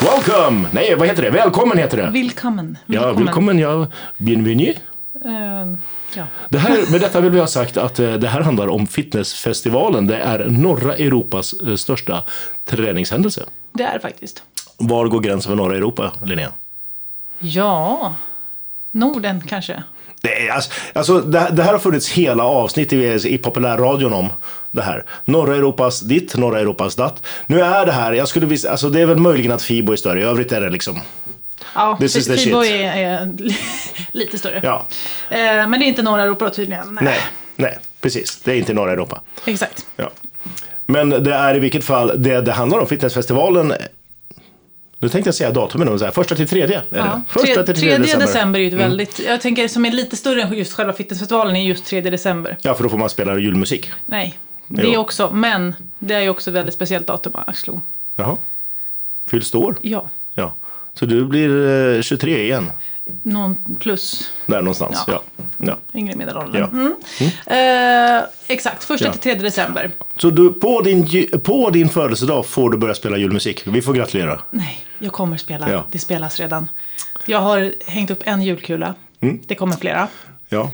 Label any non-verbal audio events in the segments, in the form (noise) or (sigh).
Welcome! Nej, vad heter det? Välkommen heter det. Willkommen. Ja, välkommen, ja. Bienvenue. Eh, ja. Det här, med detta vill vi ha sagt att eh, det här handlar om fitnessfestivalen. Det är norra Europas eh, största träningshändelse. Det är det faktiskt. Var går gränsen för norra Europa, Linnea? Ja. Norden kanske. Det, är, alltså, alltså, det, det här har funnits hela avsnitt i, i populärradion om det här. Norra Europas ditt, norra Europas datt. Nu är det här, jag skulle visst, alltså det är väl möjligen att Fibo är större, i övrigt är det liksom, Ja, This is the shit. Fibo är, är (laughs) lite större. ja, Eh, men det är inte norra Europa tydligen. nej, nej, precis, det är inte norra Europa. Exakt. Ja. Men det är i vilket fall det, det handlar om, fitnessfestivalen, nu tänkte jag säga datumen, men så här, första till tredje är det. Ja. Första Tre- till tredje tredje december. december. Mm. är ju ett väldigt, jag tänker som är lite större än just själva fitnessfestivalen är just 3 december. Ja, för då får man spela julmusik. Nej, det Jo. är också, men det är ju också ett väldigt speciellt datum, Axlo. Jaha. Fylls det år? Ja, Ja. Så du blir eh, 23 igen, någon plus där någonstans. Ja. Ja. Ja. yngre medelåldern. Ja. Mm. Eh, exakt, första Ja. till 3 december. Så du, på, din, ju- på din födelsedag får du börja spela julmusik. Vi får gratulera. Nej, jag kommer spela. Ja. Det spelas redan. Jag har hängt upp en julkula. Mm. Det kommer flera. Ja.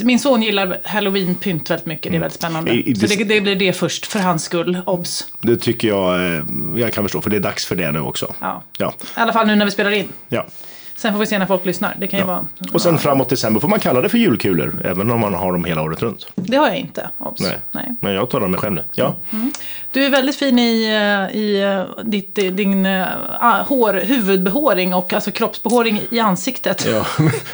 Min son gillar halloween-pynt väldigt mycket. Det är väldigt spännande. Mm. I- i Så dis- det, det blir det först, för hans skull. Obs. Det tycker jag eh, jag kan förstå, för det är dags för det nu också. Ja. Ja. I alla fall nu när vi spelar in. ja. Sen får vi se när folk lyssnar. Det kan ju vara... Och sen framåt december får man kalla det för julkulor, även om man har dem hela året runt. Det har jag inte. Obs. Nej. Mm. Men jag tar dem med skämt nu. Ja. Du är väldigt fin i, eh, i eh, ditt, eh, din eh, ah, hår, huvudbehåring och alltså kroppsbehåring i ansiktet. Ja.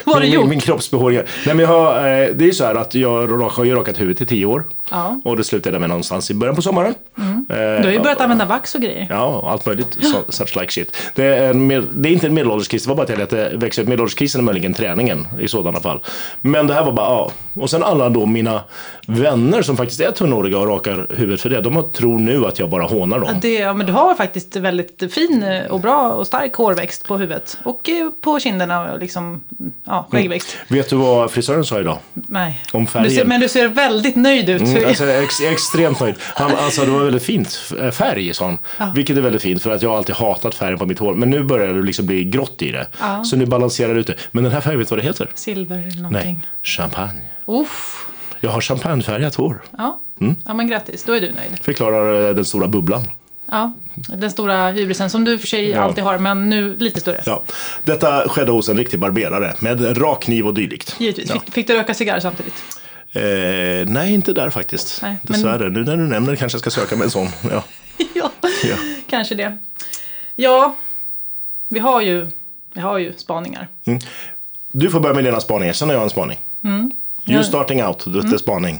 Vad har (laughs) du min, gjort? Min, min kroppsbehåring. Nej, men jag har, eh, det är ju så här att jag rak- har ju rakat huvudet i tio år. Ja. Mm. Och det slutade med någonstans i början på sommaren. Eh, Du har ju börjat använda vax och grejer. Ja, allt möjligt. So, such like shit. Det är, en, med- det är inte en medelålderskris, det var bara att jag lät det växa upp. Medelålderskrisen är möjligen träningen i sådana fall. Men det här var bara, ja. Och sen alla då mina vänner som faktiskt är tunnhåriga och rakar huvudet för det, de har- tror nu att jag bara hånar dem. Det, ja, men du har faktiskt väldigt fin eh, och bra och stark hårväxt på huvudet. Och eh, på kinderna och liksom, ja, skäggväxt. Vet du vad frisören sa idag? Nej. Mm. Om Du ser, färgen. men du ser väldigt nöjd ut. Mm, Alltså, jag är ex, jag är extremt nöjd. Han, alltså, det var väldigt fint. F- eh, Färg, sa han. Vilket är väldigt fint, för att jag har alltid hatat färgen på mitt hår. Men nu börjar det liksom bli grått i det. Så nu balanserar det ut det. Men den här färgen, vet du vad det heter? Silver Nej, någonting. champagne. Uff. Jag har champagnefärgat hår. Ja. Mm. ja, men grattis. Då är du nöjd. Förklarar eh, den stora bubblan. Ja. Den stora hybrisen som du i och för sig alltid har, men nu lite större. Ja. Detta skedde hos en riktig barberare med rak kniv och dylikt. Givetvis. Ja. Fick, fick du röka cigarr samtidigt? (laughs) Eh, nej, inte där faktiskt. Nej, men- Dessvärre. Nu när du nämner det kanske jag ska söka med en sån. Ja. ja. Ja. kanske det. Ja, vi har ju, vi har ju spaningar. Du får börja med dina spaningar, sen har jag en spaning. Mm. You starting out, du mm. spaning.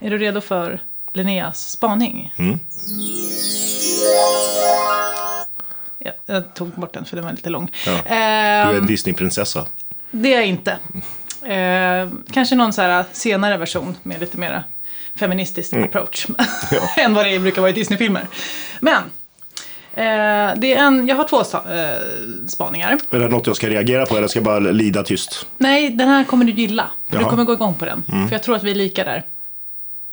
Är du redo för Linneas spaning? Mm. Ja, jag tog bort den för den var lite lång. Ja. Du Ehm, är en Disneyprinsessa. Det är jag inte. Ehm, kanske någon så här senare version med lite mer feministisk Mm. approach. (laughs) än vad det brukar vara i Disney-filmer. Men, eh, det är en, jag har två sta- eh, spaningar. Är det något jag ska reagera på eller ska jag bara lida tyst? Nej, den här kommer du gilla. För du Jaha. kommer gå igång på den. Mm. För jag tror att vi är lika där.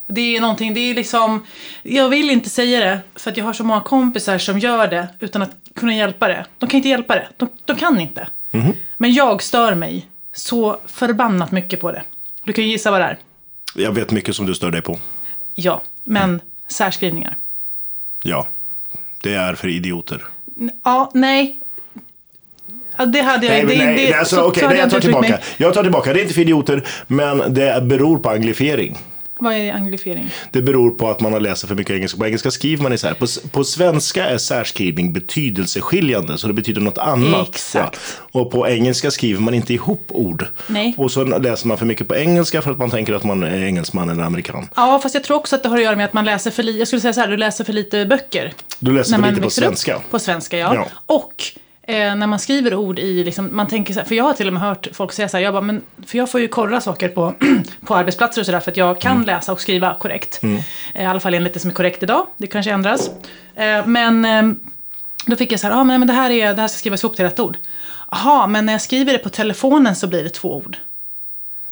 Det är någonting, det är liksom... Jag vill inte säga det, för att jag har så många kompisar som gör det utan att kunna hjälpa det. De kan inte hjälpa det. De, de kan inte. Mhm. Men jag stör mig så förbannat mycket på det. Du kan ju gissa vad det är. Jag vet mycket som du stör dig på. Ja, men särskrivningar. Ja, det är för idioter. Ja, nej. Ja, Det hade jag Nej, det- men nej, det- det, alltså, så- så okej, hade nej, jag tar inte uttryckt tillbaka. mig. Jag tar tillbaka, det är inte för idioter, men det beror på anglifiering. Vad är anglifiering? Det beror på att man har läst för mycket engelska. På engelska skriver man isär. På, s- på svenska är särskrivning betydelseskiljande, så det betyder något annat. Exakt. Ja. Och på engelska skriver man inte ihop ord. Nej. Och så läser man för mycket på engelska för att man tänker att man är engelsman eller amerikan. Ja, fast jag tror också att det har att göra med att man läser för lite, jag skulle säga så här, du läser för lite böcker. Du läser När för man lite på växer upp. svenska. På svenska, ja. Ja. Och eh, när man skriver ord i, liksom, man tänker så här, för jag har till och med hört folk säga så här, jag bara, men, för jag får ju korra saker på, (clears throat) på arbetsplatser och sådär för att jag kan Mm. läsa och skriva korrekt. Eh, I alla fall enligt det som är korrekt idag, det kanske ändras. Eh, men eh, då fick jag så här, ah, men, men det, här är, det här ska skrivas ihop till rätt ord. Jaha, men när jag skriver det på telefonen så blir det två ord.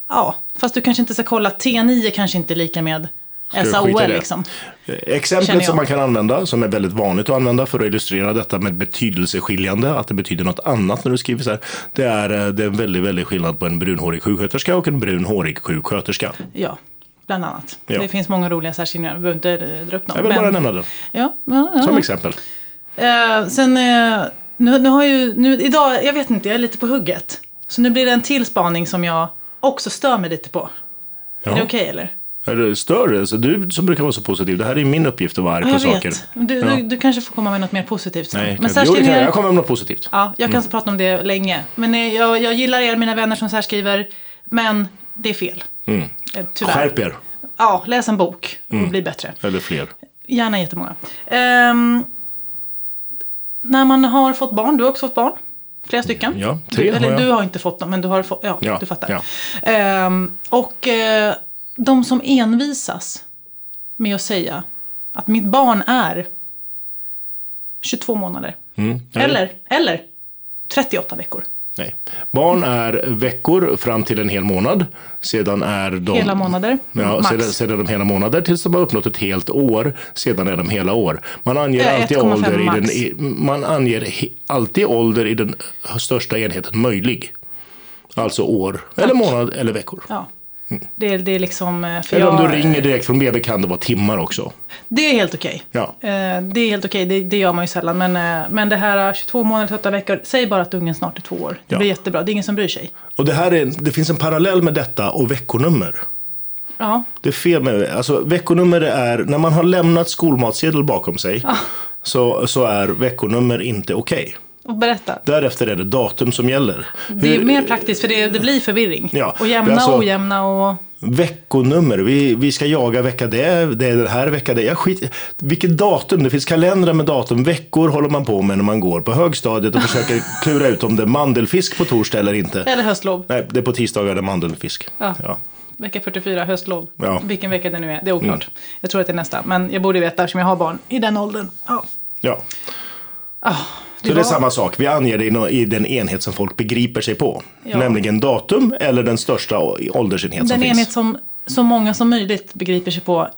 Ja, fast du kanske inte ska kolla, T9 kanske inte är lika med vi skita i SAOL det? liksom. Känner Exemplet jag. som man kan använda, som är väldigt vanligt att använda för att illustrera detta med betydelseskiljande, att det betyder något annat när du skriver så här, det är, eh, det är en väldigt, väldigt skillnad på en brunhårig sjuksköterska och en brunhårig sjuksköterska. Ja, bland annat. Ja. Det finns många roliga särskrivningar, vi behöver inte eh, dra upp någon. Jag vill bara nämna den Ja, ja, ja. som exempel. Eh, sen, eh, nu, nu har ju, nu, idag, jag vet inte, jag är lite på hugget. Så nu blir det en till spaning som jag också stör mig lite på. Är det Ja. okej eller? Är det större? Så du som brukar vara så positiv, det här är min uppgift att vara arg Ja, på jag saker. vet. Du, Ja. du, du kanske får komma med något mer positivt sen. Nej, Men jo, det kan jag. särskrivningar, jag kommer med något positivt. ja, jag kan prata om det länge. Men eh, jag, jag gillar er, mina vänner som särskriver. Men det är fel. Eh, Tyvärr. Skärp er, Ja, läs en bok och bli bättre. eller fler. Gärna jättemånga. Ehm, när man har fått barn, du har också fått barn. Flera stycken. Ja, tre du, har eller jag. du har inte fått dem, men du har fått, ja, Ja, du fattar. ja. Ehm, och eh, de som envisas med att säga att mitt barn är 22 månader. Mm, Eller, eller 38 veckor. Nej. Barn är veckor fram till en hel månad. Sedan är de... Hela månader, Ja, Mm, max. sedan, sedan är de hela månader tills de har uppnått ett helt år. Sedan är de hela år. Man anger, Eh, alltid 1,5 ålder, i den, max. i, man anger he, alltid ålder i den största enheten möjlig. Alltså år, eller månad, eller veckor. Ja. Det, det är liksom... eh, För Eller om jag, du ringer direkt från BB kan det vara timmar också. Det är helt okej. Ja. Eh, Det är helt okej, det, det gör man ju sällan. Men, eh, men det här eh, 22 månader, 8 veckor, säg bara att ungen snart är två år. Det Ja. blir jättebra, det är ingen som bryr sig. Och det, här är, det finns en parallell med detta och veckonummer. Ja, Det är fel med alltså veckonummer är, när man har lämnat skolmatsedel bakom sig, så, så är veckonummer inte okej. och berätta. Därefter är det datum som gäller. Det är Hur- mer praktiskt för det, det blir förvirring. Ja, och jämna det är alltså- och ojämna och... Veckonummer, vi, vi ska jaga vecka det, det är den här vecka det. Jag skit, vilket datum, det finns kalendrar med datum, veckor håller man på med när man går på högstadiet och (laughs) försöker klura ut om det är mandelfisk på torsdag eller inte. Eller höstlov, Nej, det är på tisdagar det är mandelfisk. Ja. Ja. vecka 44, höstlov. Ja. Mm. Vilken vecka det nu är, det är oklart. Jag tror att det är nästa, men jag borde veta eftersom jag har barn i den åldern. Ja. Ja. Ah, Så det var- är samma sak, vi anger det i nå- i den enhet som folk begriper sig på. Ja. Nämligen datum eller den största å- åldersenhet som Den finns. enhet som så många som möjligt begriper sig på.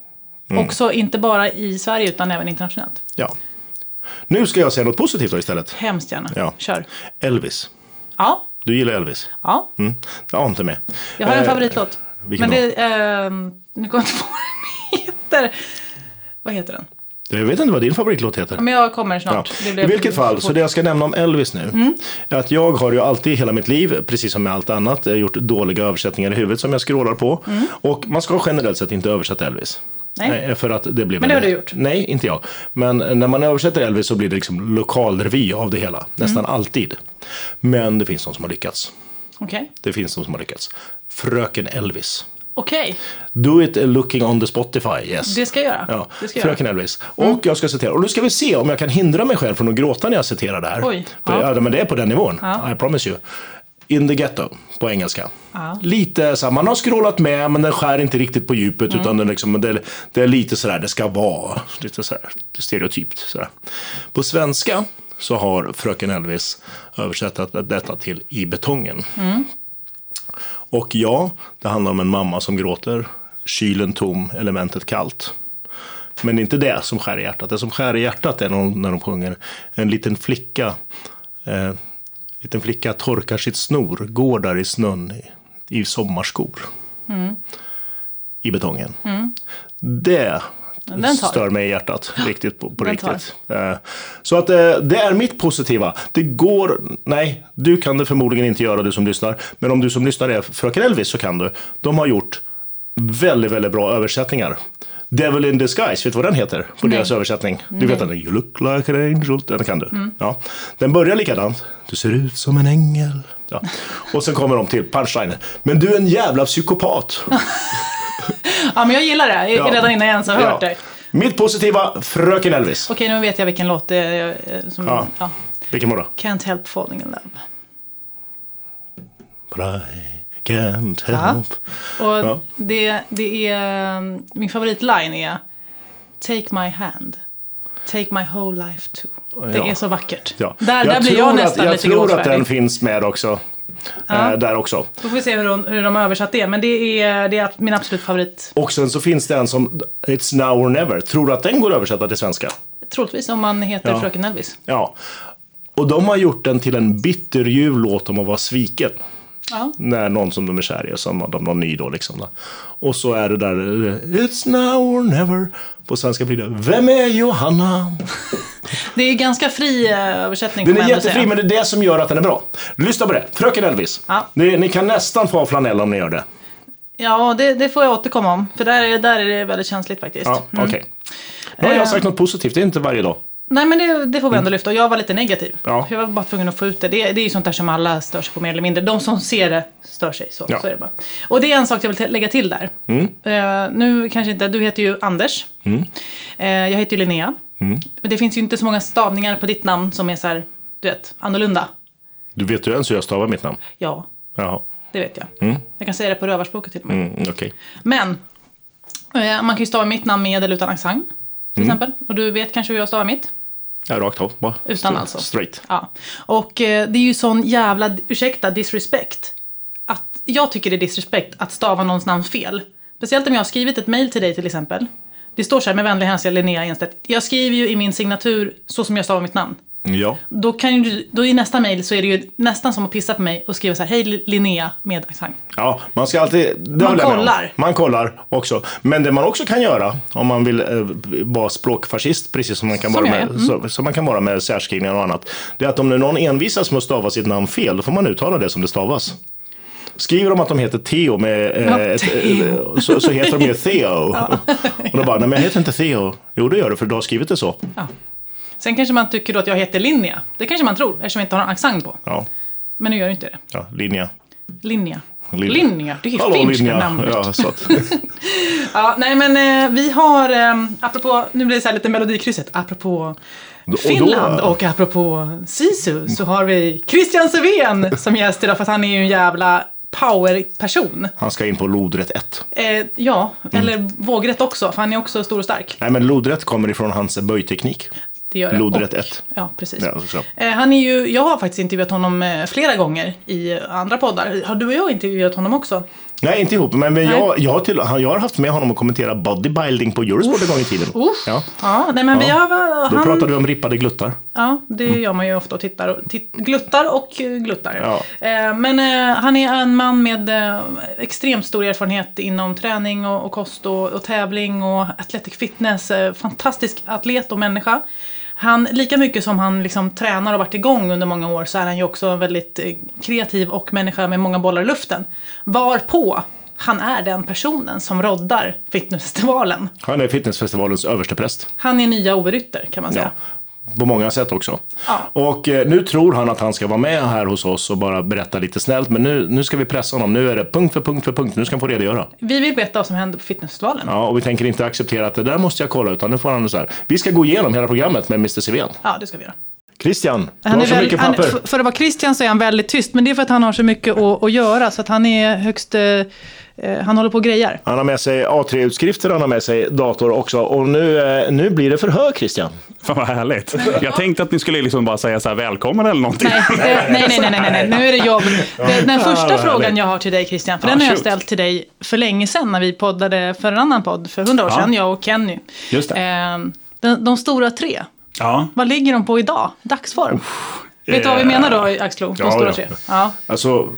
Mm. Också inte bara i Sverige utan även internationellt. Ja. Nu ska jag säga något positivt då istället. Hemskt gärna. Ja. Kör. Elvis. Ja, Du gillar Elvis? ja. Mm. Jag har inte med. Jag har en Eh, favoritlåt. vilken Men det, eh, nu kommer jag inte på vad den heter. Vad heter den? Jag vet inte vad din favoritlåt heter. Ja, Men jag kommer Ja. snart. Det I blev- Mm. vilket fall, så det jag ska nämna om Elvis nu, är att jag har ju alltid i hela mitt liv, precis som med allt annat, eh, gjort dåliga översättningar i huvudet som jag scrollar på. Och man ska generellt sett inte översätta Elvis. Mm. Nej. Eh, För att det blir Men det har väldigt- du gjort. Nej, inte jag. Men eh, när man översätter Elvis så blir det liksom lokalrevy av det hela, Mm. nästan alltid. Men det finns de som har lyckats. Okej. Det finns de som har lyckats. Fröken Elvis. Okej, Do it looking on the Spotify, yes. det ska jag göra. Ja, Det ska jag göra. Mm. Fröken Elvis. Och jag ska citera, och nu ska vi se om jag kan hindra mig själv från att gråta när jag citerar det här. Oj, För, ja. ja. men det är på den nivån, Ja. I promise you. In the ghetto, på engelska. Ja. Lite så här, man har scrollat med men den skär inte riktigt på djupet Mm. utan den liksom, det, är, det är lite sådär det ska vara. Lite så här, stereotypt. Så här. På svenska så har Fröken Elvis översatt detta till I betongen. Mm. Och ja, det handlar om en mamma som gråter. Kylen tom, elementet kallt. Men det är inte det som skär i hjärtat. Det som skär i hjärtat är när de, när de sjunger en liten flicka. Eh, liten flicka torkar sitt snor, går där i snön i, i sommarskor. Mm. I betongen. Det den tar. stör mig i hjärtat riktigt på, på Den tar. riktigt. Eh, Så att eh, det är mitt positiva. Det går, nej, du kan det förmodligen inte göra du som lyssnar. Men om du som lyssnar är Fröken Elvis så kan du. De har gjort väldigt, väldigt bra översättningar. Devil in disguise, vet du vad den heter? På deras översättning. Du vet den, You look like an angel. Den kan du. Mm. Ja. Den börjar likadant. Du ser ut som en ängel. Ja. Och sen kommer de till punchlinen. Men du är en jävla psykopat. Ja, men jag gillar det. Jag, Ja. (laughs) Redan innan jag ens har hört Ja. det. Mitt positiva, Fröken Elvis. Okej, nu vet jag vilken låt det är. eh, Som, ja. Ja. Vilken var det? Can't help falling in love. But I can't Ja. help. Och Ja. det, det är... ehm, Min favoritline är Take my hand. Take my whole life too. Det Ja. är så vackert. Ja. Där, där blir jag tror nästan att, Jag lite tror att den gråtfärdig. finns med också. Ja. eh, där också. Då får vi se hur de, hur de har översatt det. Men det är, det är min absolut favorit. Och sen så finns det en som It's now or never. Tror du att den går att översätta till svenska? Troligtvis om man heter Ja. Fröken Elvis. Ja. Och de har gjort den till en bitterljuv låt om att vara sviken. Ja. När någon som de är kär i, och som de någon ny då liksom. Då. Och så är det där eh, It's now or never. På svenska blir det Vem är Johanna? Det är ganska fri eh, översättning. Den får är man ändå säga. jättefri men det är det som gör att den är bra. Lyssna på det, Fröken Elvis. Ja. Ni, ni kan nästan få ha flanell om ni gör det. Ja, det, det får jag återkomma om. För där är, där är det väldigt känsligt faktiskt. Ja, okej. Nu har Eh. jag sagt något positivt, det är inte varje dag. Nej men det, det får vi ändå lyfta. Och jag var lite negativ. Mm. Ja. Jag var bara tvungen att få ut det. det. Det är ju sånt där som alla stör sig på mer eller mindre. De som ser det stör sig. Så, Ja. Mm. så är det bara. Och det är en sak jag vill te- lägga till där. Eh, nu kanske inte, du heter ju Anders. Eh, jag heter ju Linnea. Mm. Och det finns ju inte så många stavningar på ditt namn som är så här, du vet, annorlunda. Du vet ju ens hur jag stavar mitt namn? Ja, Jaha, det vet jag. Jag kan säga det på rövarspråket till och med. mm, okej. Men, eh, man kan ju stava mitt namn med eller utan accent. Till Mm. exempel. Och du vet kanske hur jag stavar mitt. Ja, rakt av. Bara. Utan Stra- alltså. Straight. Ja. Och eh, det är ju sån jävla, ursäkta, disrespect. Att, jag tycker det är disrespect att stava någons namn fel. Speciellt om jag har skrivit ett mail till dig till exempel. Det står så här med vänlig hälsning Linnea Enstedt. Jag skriver ju i min signatur så som jag stavar mitt namn. Ja. Då, kan ju, du- då i nästa mail så är det ju nästan som att pissa på mig och skriva så här, hej Li- Linnea med accent. ja, man ska alltid... det håller jag med om. kollar. Man kollar också. Men det man också kan göra om man vill eh, b- vara språkfascist, precis som man kan, Som vara, jag med, är, mm. så, som man kan vara med särskrivningar och annat. Det är att om någon envisas med att stava sitt namn fel, då får man uttala det som det stavas. Skriver de att de heter Theo med... eh, Ja, ett- Theo. eh, så, så heter de ju (laughs) Theo. Och då bara, nej men jag heter inte Theo. Jo det gör du, för du har skrivit det så. Ja. Sen kanske man tycker då att jag heter Linnea. Det kanske man tror eftersom jag inte har någon accent på. Ja, Men nu gör jag inte det. ja linja. Linnea. Linnea. Linnea. Det är finska namnet. Ja, så att, Ja, nej men eh, vi har, eh, apropå, nu blir det så här lite melodikrysset, apropå och då- Finland och apropå Sisu så har vi Christian Sven som gäst idag för att han är ju en jävla powerperson. han ska in på lodrätt 1. Eh, ja, Mm. eller vågrätt också för han är också stor och stark. Nej, men lodrätt kommer ifrån hans böjteknik. Det gör det. Lodrätt Och- 1. Ja, precis. Ja, så. Eh, han är ju, jag har faktiskt intervjuat honom eh, flera gånger i eh, andra poddar. Har du och jag intervjuat honom också? Nej, inte ihop. Men, men jag, jag, har till, han- jag har haft med honom att kommentera bodybuilding på Eurosport en gång i tiden. Uff. Ja. Ja, nej men vi Ja. har... Då Han, pratade vi om rippade gluttar. Ja, det Mm. gör man ju ofta och tittar och titt, gluttar och eh, gluttar. Ja. Eh, Men eh, han är en man med eh, extremt stor erfarenhet inom träning och, och kost och, och tävling och athletic fitness. Eh, Fantastisk atlet och människa. Han, lika mycket som han liksom tränar och varit igång under många år så är han ju också en väldigt eh, kreativ och människa med många bollar i luften. Varpå han är den personen som roddar fitnessfestivalen. Han är fitnessfestivalens överstepräst. Han är nya Ove Rytter kan man säga. Ja. På många sätt också. Ja. Och eh, nu tror han att han ska vara med här hos oss och bara berätta lite snällt. Men nu, nu ska vi pressa honom. Nu är det punkt för punkt för punkt. Nu ska han få redogöra. Vi vill veta vad som händer på fitnessfestivalen. Ja, och vi tänker inte acceptera att det där måste jag kolla. Utan nu får han så här. Vi ska gå igenom hela programmet med Mr. Sven. Ja, det ska vi göra. Christian, du Han har är så väl, mycket han, papper. för, för att vara Christian så är han väldigt tyst, men det är för att han har så mycket att, att göra, så att han är högst... Eh, eh, han håller på och grejar. Han har med sig A3-utskrifter, han har med sig dator också. Och nu, eh, nu blir det förhör Christian. Fan vad härligt. Jag tänkte att ni skulle liksom bara säga så här välkommen eller någonting. Nej, (laughs) eh, nej, nej, nej, nej, nej, nu är det jobb. Den, den första vad frågan härligt. jag har till dig Christian, för Ja, den har jag shoot. ställt till dig för länge sedan när vi poddade för en annan podd, för hundra år Ja. sedan, jag och Kenny. Just det. Eh, de, de stora tre, Ja. vad ligger de på idag? Dagsform? Vet du vad vi eh, menar då, Axlo? De ja, stora ja. tre? Ja. Alltså,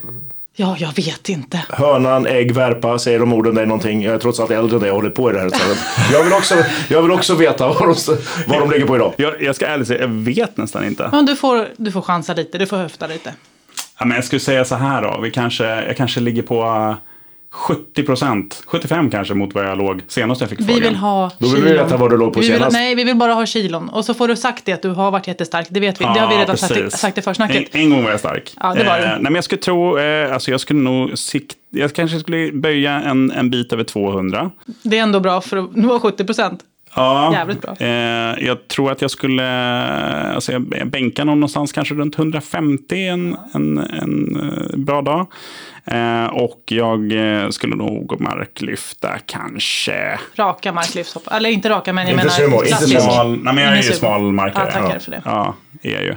ja, jag vet inte. hönan, ägg, värpa, säger de orden dig någonting? Jag är trots allt äldre än dig jag håller på i det här. Så Jag vill också, jag vill också veta vad de, vad de ligger på idag. Jag, jag ska ärligt säga, jag vet nästan inte. Men du får, du får chansa lite, du får höfta lite. Ja, men jag skulle säga så här då, vi kanske, jag kanske ligger på eh, 70 procent, 75 kanske mot vad jag låg senast jag fick Vi frågan. vill ha Då vill vi veta vad du låg på vi vill, senast. Nej, vi vill bara ha kilon. Och så får du sagt det att du har varit jättestark. Det vet vi. det har vi Ja, redan sagt, i- precis. sagt i försnacket. En, en gång var jag stark. Ja, det var du. Eh, nej, men jag skulle tro, eh, alltså jag skulle nog sikt, jag kanske skulle böja en, en bit över 200. Det är ändå bra för att nå 70 procent. Ja, Jävligt bra. Eh, jag tror att jag skulle alltså jag jag bänkar någon någonstans, kanske runt 150 en, en, en eh, bra dag. Eh, och jag eh, skulle nog marklyfta kanske. Raka marklyftshopp. Eller inte raka, men jag Inte menar sumo, inte klassisk. sumo. Smal, nej men jag är Ingen ju sumo. smal markare. Ja, tackar för det. Ja. är jag ju.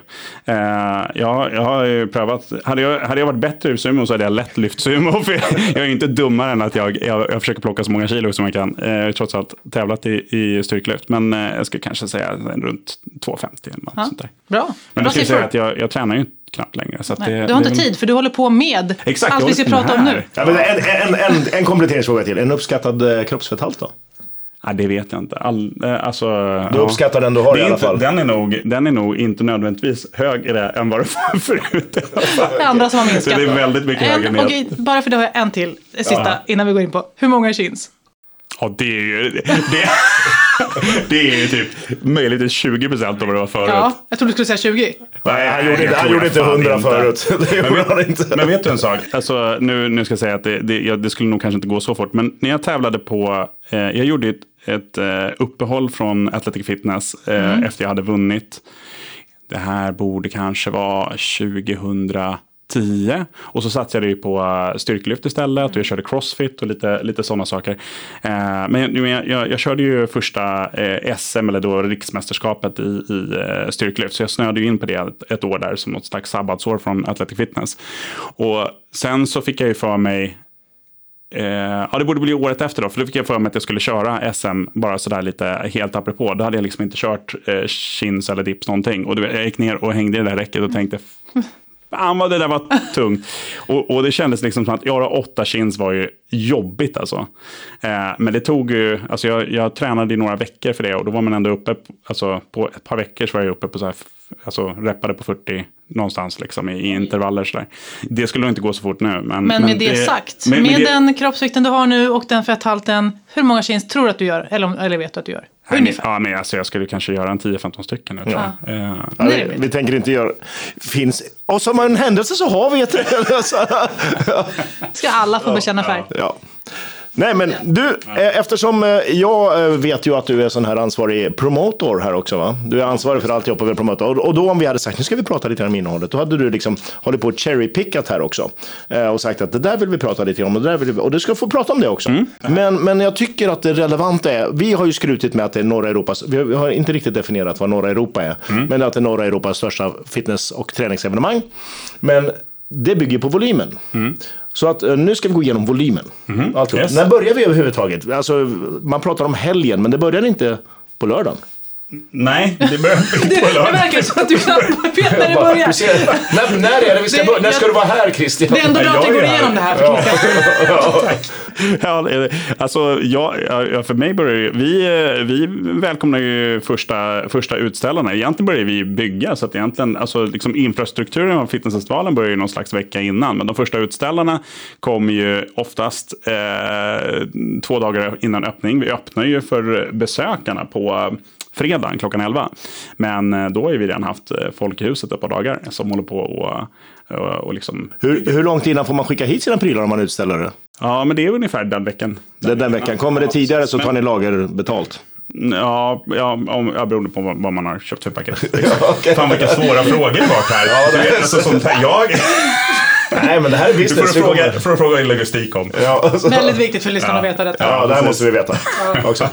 Eh, jag, jag har ju prövat. Hade jag, hade jag varit bättre i sumo så hade jag lätt lyft sumo. För jag, jag är ju inte dummare än att jag, jag, jag försöker plocka så många kilo som jag kan. Eh, jag har trots allt tävlat i, i styrkelyft. Men eh, jag skulle kanske säga runt 2,50 eller något Ja. sånt där. Bra. Bra Men jag skulle säga siffror. att jag, jag tränar ju knappt längre. Så att Nej, det, du har det är inte väl- tid, för du håller på med Exakt, jag allt vi ska håller på med prata om här. nu. Ja, men en, en, en, en kompletteringsfråga till. En uppskattad eh, kroppsfetthalt då? Ja, det vet jag inte. All, eh, alltså, Du ja. uppskattar den du har det i är alla inte, fall? den, är nog, den är nog inte nödvändigtvis högre än vad det var (laughs) förut. Det andra som har Så minskat. det är väldigt mycket högre en, ner. okej, bara för det har jag en till, eh, sista, innan vi går in på. Hur många chins? Ja, det är ju, det, (laughs) det är ju typ möjligtvis 20 procent av vad det var förut. Ja, jag trodde du skulle säga 20. Nej, han gjorde, jag inte, han tror gjorde jag inte fan 100 inte. förut. (laughs) Det Men gjorde han vet, inte. men vet du en sak? Alltså, nu, nu ska jag säga att det, det, ja, det skulle nog kanske inte gå så fort. Men när jag tävlade på, eh, jag gjorde ett, ett eh, uppehåll från Athletic Fitness eh, Mm. efter jag hade vunnit. Det här borde kanske vara 2010. Och så satsade jag ju på eh, styrkelyft istället och jag körde crossfit och lite, lite sådana saker. Eh, men jag, men jag, jag, jag körde ju första eh, SM, eller då riksmästerskapet i, i eh, styrkelyft. Så jag snöade ju in på det ett, ett år där som något slags sabbatsår från Athletic Fitness. Och sen så fick jag ju för mig Eh, ja, det borde bli året efter då, för då fick jag för mig att jag skulle köra SM bara sådär lite helt apropå. Då hade jag liksom inte kört eh, chins eller dips någonting. Och du vet, jag gick ner och hängde i det där räcket och tänkte, fan vad det där var tungt. och, och det kändes liksom som att göra åtta chins var ju jobbigt alltså. Eh, men det tog ju, alltså jag, jag tränade i några veckor för det och då var man ändå uppe, på- alltså på ett par veckor så var jag uppe på så här, f- alltså reppade på 40 någonstans liksom i, i intervaller sådär. Det skulle nog inte gå så fort nu. Men, Men, med det, sagt, men- men med det- den kroppsvikten du har nu och den fetthalten, hur många chins tror du att du gör? Eller, om- eller vet du att du gör? Nej, men- Ungefär. Ja, men alltså, jag skulle kanske göra en 10-15 stycken. nu, tror jag. Eh, Ja, Nej, vi, men- vi tänker inte göra... Finns... Och som en händelse så har vi ett... (laughs) Ska alla få bekänna färg? ja. Nej, men du, eh, eftersom eh, jag eh, vet ju att du är sån här ansvarig promotor här också, va? Du är ansvarig för allt jag på promotor. Och- Och då om vi hade sagt, nu ska vi prata lite om innehållet, då hade du liksom hållit på och cherrypickat här också. eh, Och sagt att det där vill vi prata lite om och det där vill vi... Och du ska få prata om det också. Men, men jag tycker att det relevanta är, vi har ju skrutit med att det är norra Europas, vi har- vi har inte riktigt definierat vad norra Europa är, men att det är norra Europas största fitness och träningsevenemang. Men det bygger på volymen. Så att, eh, nu ska vi gå igenom volymen. Alltihop. Yes. När börjar vi överhuvudtaget? Alltså, man pratar om helgen, men det börjar inte på lördagen. Nej, det börjar på Det lördag. verkar som att du knappt vet när det börjar. Du ser, när, när är det vi ska Det- börja? När ska jag- du vara här Christian? Det är ändå bra att Jag vi går är här. igenom det här. För Christian. Ja, eh, alltså, jag, ja, för mig börjar ju, vi, eh, vi välkomnar ju första, första utställarna. Egentligen börjar vi bygga, så att egentligen, alltså, liksom infrastrukturen av fitnessfestivalen börjar ju någon slags vecka innan. Men de första utställarna kommer ju oftast eh, två dagar innan öppning. Vi öppnar ju för besökarna på eh, fredagen klockan 11. Men eh, då har ju vi redan haft eh, folk i huset ett par dagar som håller på och, och, och liksom... Hur, hur långt innan får man skicka hit sina prylar om man utställer det? Ja, men det är ungefär den veckan. Den, den veckan. Kommer det tidigare så tar ni lager betalt. Ja, ja, om, ja beroende på vad, vad man har köpt (laughs) för paket. Fan vilka svåra frågor det var här. Du vet, alltså, sånt här. Jag, Nej, men det här är du får business. Vi fråga, kommer- får fråga i logistik om. Ja, alltså. Väldigt viktigt för lyssnarna att veta detta. Ja, det här måste vi veta också.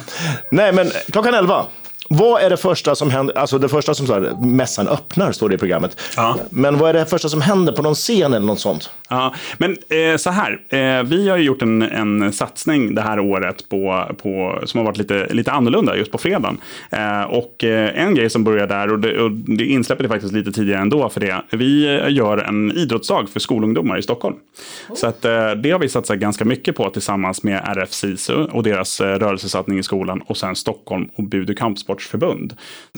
Nej, men klockan 11. Vad är det första som händer? Alltså det första som står, mässan öppnar, står det i programmet. Ja. Men vad är det första som händer på någon scen eller något sånt? Ja, men eh, så här, eh, vi har ju gjort en, en satsning det här året på, på, som har varit lite, lite annorlunda just på fredagen. Eh, och eh, en grej som börjar där, och det, och det insläppet är faktiskt lite tidigare ändå för det, vi eh, gör en idrottsdag för skolungdomar i Stockholm. Så att, eh, det har vi satsat ganska mycket på tillsammans med RF SISU och deras eh, rörelsesatsning i skolan och sen Stockholm och Budu Kampsportsförbund.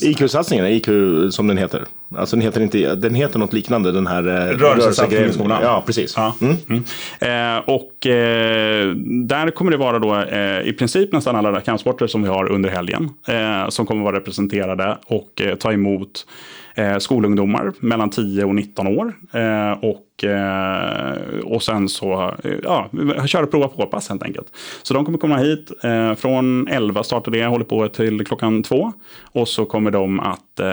IQ-satsningen, IQ som den heter. Alltså den heter, inte, den heter något liknande, den här... eh, Rörelsesatsningen i skolan. Ja, precis. Ja. Mm. Eh, och eh, där kommer det vara då eh, i princip nästan alla kampsporter som vi har under helgen. Eh, som kommer vara representerade och eh, ta emot eh, skolungdomar mellan 10 och 19 år. Eh, och, eh, och sen så eh, ja, köra prova på-pass helt enkelt. Så de kommer komma hit eh, från 11 startar det, håller på till klockan 2. Och så kommer de att eh,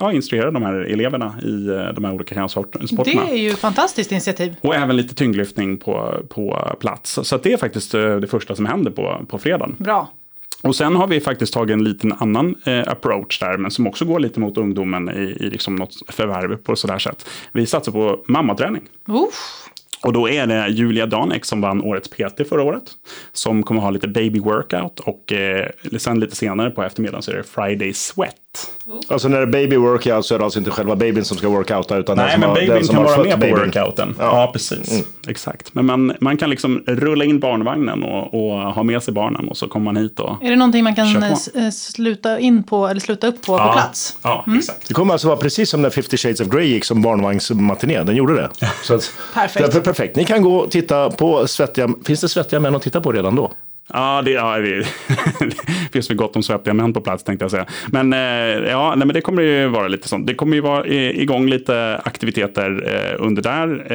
ja, instruera de här eleverna i eh, de här olika kampsporterna. Det är ju ett fantastiskt initiativ. Och även lite tyngdlyftning på, på plats. Så att det är faktiskt eh, det första som händer på, på fredagen. Bra. Och sen har vi faktiskt tagit en liten annan eh, approach där, men som också går lite mot ungdomen i, i liksom något förvärv på sådär sätt. Vi satsar på mammaträning. Uff. Och då är det Julia Danek som vann årets PT förra året. Som kommer ha lite baby workout och eh, sen lite senare på eftermiddagen så är det Friday sweat. Alltså när det är baby workout så är det alltså inte själva babyn som ska workouta utan den Nej, som men har, babyn den som kan har vara fött med på babyn. Mm. workouten. Ja, precis. Exakt. Men man, man kan liksom rulla in barnvagnen och, och ha med sig barnen och så kommer man hit och... Är det någonting man Kör kan på. eh, s- eh, sluta in på eller sluta upp på på plats? Mm. Ja, exakt. Det kommer alltså vara precis som när 50 shades of Grey gick som barnvagnsmatiné. Den gjorde det. Så att, Perfekt. Därför perfekt. Ni kan gå och titta på svettiga... Finns det svettiga män att titta på redan då? Ja, det, ja, det, (laughs) det finns väl gott om svettiga män på plats tänkte jag säga. Men, eh, ja, nej, men det kommer ju vara lite sånt. Det kommer ju vara eh, igång lite aktiviteter eh, under där,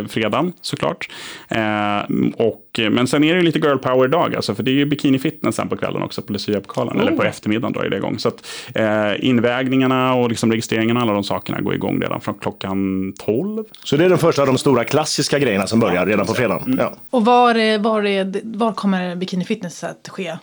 eh, fredagen såklart. Eh, och, men sen är det ju lite girl power-dag, alltså, för det är ju bikini fitness sen på kvällen också på Lucia-pokalen, eller på eftermiddagen drar ju det igång. Så att, eh, invägningarna och liksom registreringarna, alla de sakerna går igång redan från klockan 12. Så det är den första av de stora klassiska grejerna som börjar redan på fredagen. Mm. Ja. Och var, är, var, är, var kommer Bikini Fitness att ske?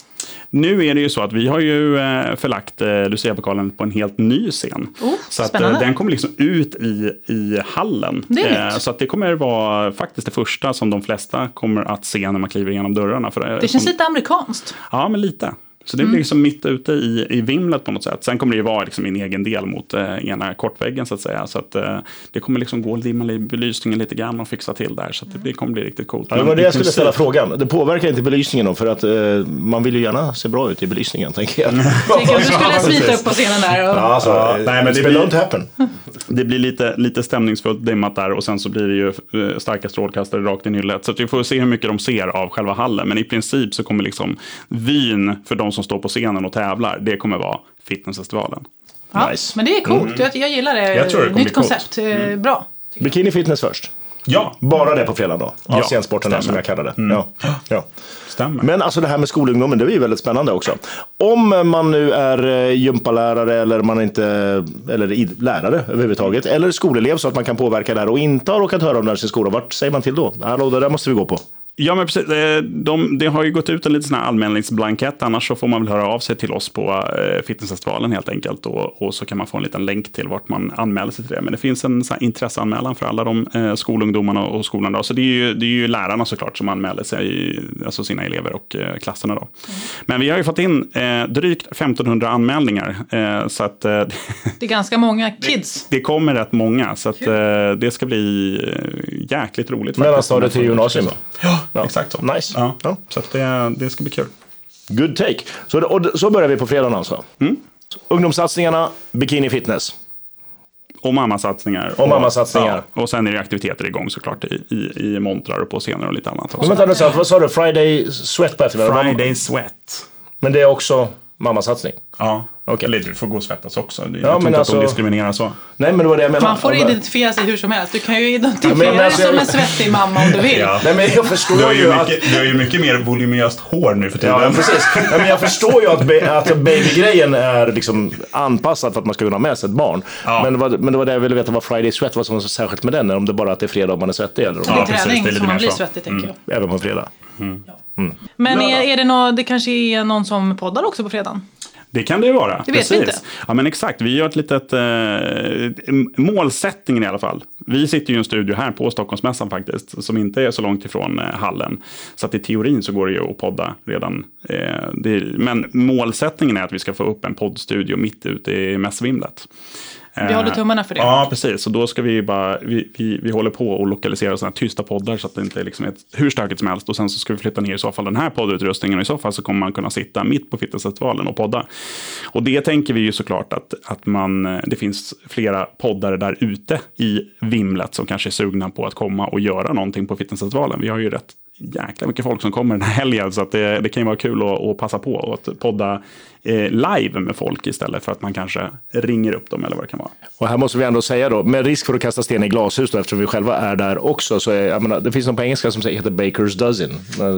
Nu är det ju så att vi har ju eh, förlagt eh, Lucia-pokalen på en helt ny scen. Oh, så att eh, spännande. den kommer liksom ut i, i hallen. Eh, Det är nytt. så att det kommer vara faktiskt det första som de flesta kommer att se när man kliver igenom dörrarna. För, eh, Det känns Mm. lite amerikanskt. Ja, men lite. Så det blir liksom mitt ute i, i vimlet på något sätt. Sen kommer det ju vara liksom min egen del mot eh, ena kortväggen så att säga. Så att eh, det kommer liksom gå att limma li- belysningen lite grann och fixa till där. Så att det blir, kommer bli riktigt coolt. Ja, det Men var det i jag skulle princip- ställa frågan. Det påverkar inte belysningen då? För att eh, man vill ju gärna se bra ut i belysningen, tänker jag. Tänker om du (laughs) skulle smita upp på scenen där. Och... Ja, alltså, Ja, eh, nej, men det it's been blir- don't happen. Det blir lite, lite stämningsfullt dimmat där och sen så blir det ju eh, starka strålkastare rakt in i hyllet. Så att vi får se hur mycket de ser av själva hallen. Men i princip så kommer liksom vyn för de som står på scenen och tävlar, det kommer vara fitnessfestivalen. Ja, Nice. Men det är coolt. Jag, jag gillar det. Mm. Jag tror det kommer Nytt bli coolt. Mm. koncept. eh, Bra. Bikini fitness först. Ja, Bara det på fredagen då. Ja, Ja, scensporten där som jag kallar det. Ja. Ja. stämmer. Men alltså det här med skolungdomen, det är ju väldigt spännande också. Om man nu är eh, gympalärare eller man är inte eller id- lärare överhuvudtaget, eller skolelev så att man kan påverka det här och inte har råkat höra om det här i sin skola, vart säger man till då? Hallå, det där måste vi gå på. Ja, men precis. Eh, De, det har ju gått ut en liten sån här anmälningsblankett. Annars så får man väl höra av sig till oss på eh, Fitnessfestivalen helt enkelt. Och, och så kan man få en liten länk till vart man anmäler sig till det. Men det finns en sån här intresseanmälan för alla de eh, skolungdomarna och skolan. Då. Så det är, ju, det är ju lärarna såklart som anmäler sig, alltså sina elever och eh, klasserna. Då. Men vi har ju fått in eh, drygt 1500 anmälningar. Eh, så att eh, (laughs) Det är ganska många kids. det kommer rätt många. Så att, eh, det ska bli eh, jäkligt roligt. faktiskt. Mellanstadiet till gymnasium då? Ja, exakt så. Nice. Ja. Ja. Så att det, det ska bli kul. Good take. Så, och, d- så börjar vi på fredagen alltså. Ungdomssatsningarna, bikini fitness. Och mammasatsningar. Och mammasatsningar. Ja, och sen är det aktiviteter igång såklart i, i, i montrar och på scener och lite annat. Men Också. vänta nu, så- vad sa du? Friday sweat på eftermiddagen? Friday sweat. Men det är också mammasatsning? Ja, Okej. eller du får gå och svettas också. Jag men tror inte alltså- att de diskriminerar så. Nej, men det var det jag menade. Man får Ja, men- identifiera sig hur som helst. Du kan ju identifiera men alltså, dig som jag- en svettig mamma om du vill. Ja. Nej, men jag förstår Du har, ju, ju att... mycket, du har ju mycket mer voluminöst hår nu för tiden. Ja, men precis. Ja, men jag förstår ju att, ba- att babygrejen är liksom anpassad för att man ska kunna ha med sig ett barn. Ja. Men, det var, men det var det jag ville veta vad Friday Sweat var som var så särskilt med den. Om det bara att det är fredag och man är svettig eller om Det är Ja, precis. träning Det är lite som man mer blir så. Mm. svettig, tänker jag. även på en fredag. Men är, är det nå det kanske är någon som poddar också på fredagen? Det kan det ju vara. Det vet vi inte. Ja, men exakt. Vi gör ett litet... Eh, målsättningen i alla fall. Vi sitter ju i en studio här på Stockholmsmässan faktiskt, som inte är så långt ifrån eh, hallen. Så att i teorin så går det ju att podda redan. Eh, det är, men målsättningen är att vi ska få upp en poddstudio mitt ute i mässvimlet. Vi håller tummarna för det. Eh. Ja, precis. Och då ska vi bara, vi, vi, vi håller på och lokalisera sådana här tysta poddar så att det inte är liksom är ett, hur stökigt som helst. Och sen så ska vi flytta ner i så fall den här poddutrustningen och i så fall så kommer man kunna sitta mitt på Fitnessfestivalen och podda. Och det tänker vi ju såklart att, att man, eh, det finns flera poddare där ute i vimlet som kanske är sugna på att komma och göra någonting på Fitnessfestivalen. Vi har ju rätt jäkla mycket folk som kommer den här helgen så att det, det kan ju vara kul att, att passa på och att podda eh, live med folk istället för att man kanske ringer upp dem eller vad det kan vara. Och här måste vi ändå säga då, med risk för att kasta sten i glashus då, eftersom vi själva är där också, så är, jag menar, det finns något på engelska som säger- heter Bakers dozen.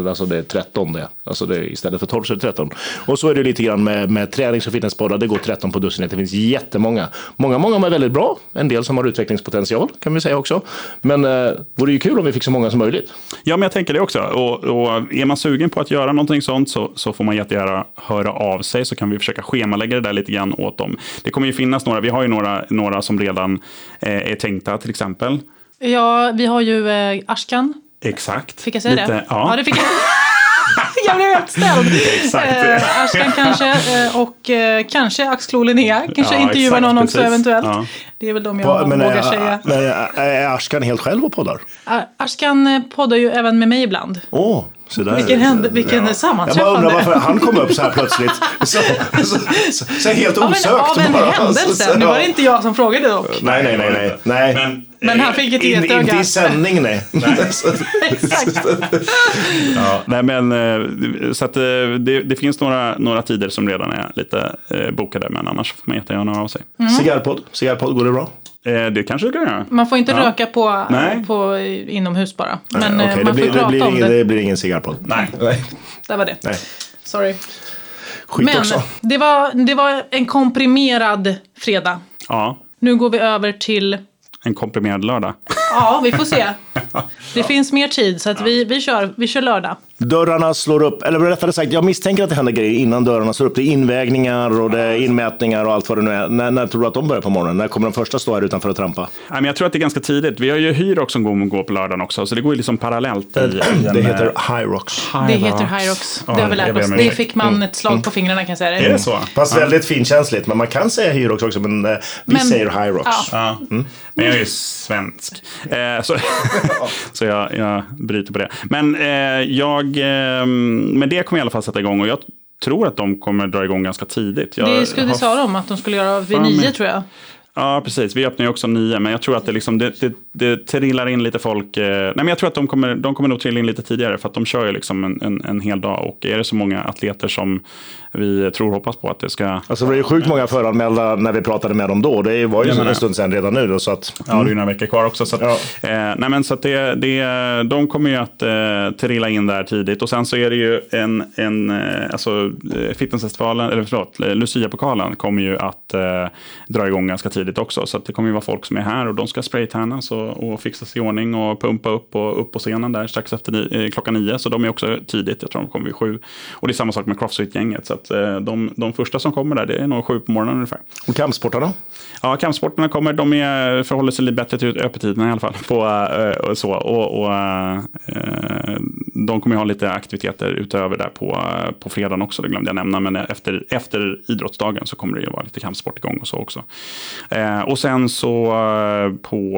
Alltså det är 13 det. Alltså det, är- istället för 12 så är det 13. Och så är det lite grann med, med tränings och fitnesspoddar, det går 13 på dussinet. Det finns jättemånga. Många, många är väldigt bra. En del som har utvecklingspotential kan vi säga också. Men eh, vore ju kul om vi fick så många som möjligt. Ja, men jag tänker det också. Och, och är man sugen på att göra någonting sånt så, så får man jättegärna höra av sig så kan vi försöka schemalägga det där lite grann åt dem. Det kommer ju finnas några, vi har ju några, några som redan eh, är tänkta till exempel. Ja, vi har ju eh, Ashkan. Exakt. Fick jag säga lite, det? Ja. det fick jag. (laughs) jag blev helt ställd. (laughs) Exakt. Eh, Ashkan kanske eh, och eh, kanske Axel Linnea. Kanske Ja, intervjua exakt, någon också precis. eventuellt. Ja. Det är väl de jag vågar eh, säga. är Ashkan helt själv och poddar? A- Ashkan eh, poddar ju även med mig ibland. Åh, oh, så där. Vilken, händ, vilken Jag bara sammanträffande. undrar varför han kom upp så här plötsligt. (laughs) Så, så, så, så helt Av en, osökt. av en bara. händelse. (laughs) Så- Nu var det inte jag som frågade dock. Nej, nej, nej. nej, nej. Men, eh, Men han fick ett In, inte getöga. i sändning, nej. Exakt. Ja, nej men, eh, så att, eh, det, det finns några, några tider som redan är lite eh, bokade, men annars får man jättegärna höra av sig. Mm. Cigarrpodd, cigarrpodd, går det bra? Eh, det kanske du kan göra. Man får inte Ja. röka på, Nej. på inomhus bara. Men Okej, eh, det man blir, får det prata blir om ingen, det. det blir ingen cigarrpodd. Nej. Nej. Där var det. nej. Sorry. Skit Men också. det var, det var en komprimerad fredag. Ja, Nu går vi över till... en komprimerad lördag. Ja, vi får (laughs) se. Det finns mer tid, så att vi, vi, kör, vi kör lördag. Dörrarna slår upp, eller rättare sagt, jag misstänker att det händer grejer innan dörrarna slår upp. Det är invägningar och det är inmätningar och allt vad det nu är. När, när tror du att de börjar på morgonen? När kommer de första stå här utanför och trampa? Nej, men jag tror att det är ganska tidigt. Vi har ju Hyrox som går- går på lördagen också, så det går ju liksom parallellt. I, i en, Det eh, heter Hyrox. Det Hyrox. heter Hyrox. Ja, Det har vi jag lärt ber oss. om Det ursäkt. fick man ett slag på fingrarna kan jag säga Är dig. Mm. det så? Mm. Fast väldigt finkänsligt, men man kan säga Hyrox också, men eh, vi Men- säger Hyrox. Ja. Ja. Mm. Men jag är ju svensk. Eh, (laughs) så så jag, jag bryter på det. Men, eh, jag, eh, men det kommer i alla fall sätta igång. Och jag tror att de kommer dra igång ganska tidigt. Jag Det, skulle, det har- sa de att de skulle göra vid Fan, nio men- tror jag. Ja, precis. Vi öppnar ju också om nio, men jag tror att det, liksom, det, det, det trillar in lite folk. eh, Nej, men jag tror att de kommer, de kommer nog trilla in lite tidigare, för att de kör ju liksom en, en, en hel dag. Och är det så många atleter som vi tror och hoppas på att det ska... Alltså det var ju sjukt många föranmälda när vi pratade med dem då. Det var ju Jag menar en det. stund sedan redan nu då, så att Ja, det är ju några veckor kvar också. Så att, eh, nej, men så att det, det, de kommer ju att eh, trilla in där tidigt. Och sen så är det ju en... en eh, alltså, eh, fitnessfestivalen, eller förlåt, eh, Lucia-pokalen kommer ju att eh, dra igång ganska tidigt också. Så att det kommer ju vara folk som är här och de ska spraytannas och, och fixas i ordning och pumpa upp och upp på scenen där strax efter ni, eh, klockan nio. Så de är också tidigt, jag tror de kommer vid sju. Och det är samma sak med Crossfit-gänget. Så att eh, de, de första som kommer där, det är nog sju på morgonen ungefär. Och kampsportarna? Ja, kampsporterna kommer. De är, förhåller sig lite bättre till öppettiderna i alla fall. På, eh, och så. Och, och, eh, de kommer ju ha lite aktiviteter utöver där på, eh, på fredagen också. Det glömde jag nämna. Men efter, efter idrottsdagen så kommer det ju vara lite kampsport igång och så också. Eh, och sen så eh, på,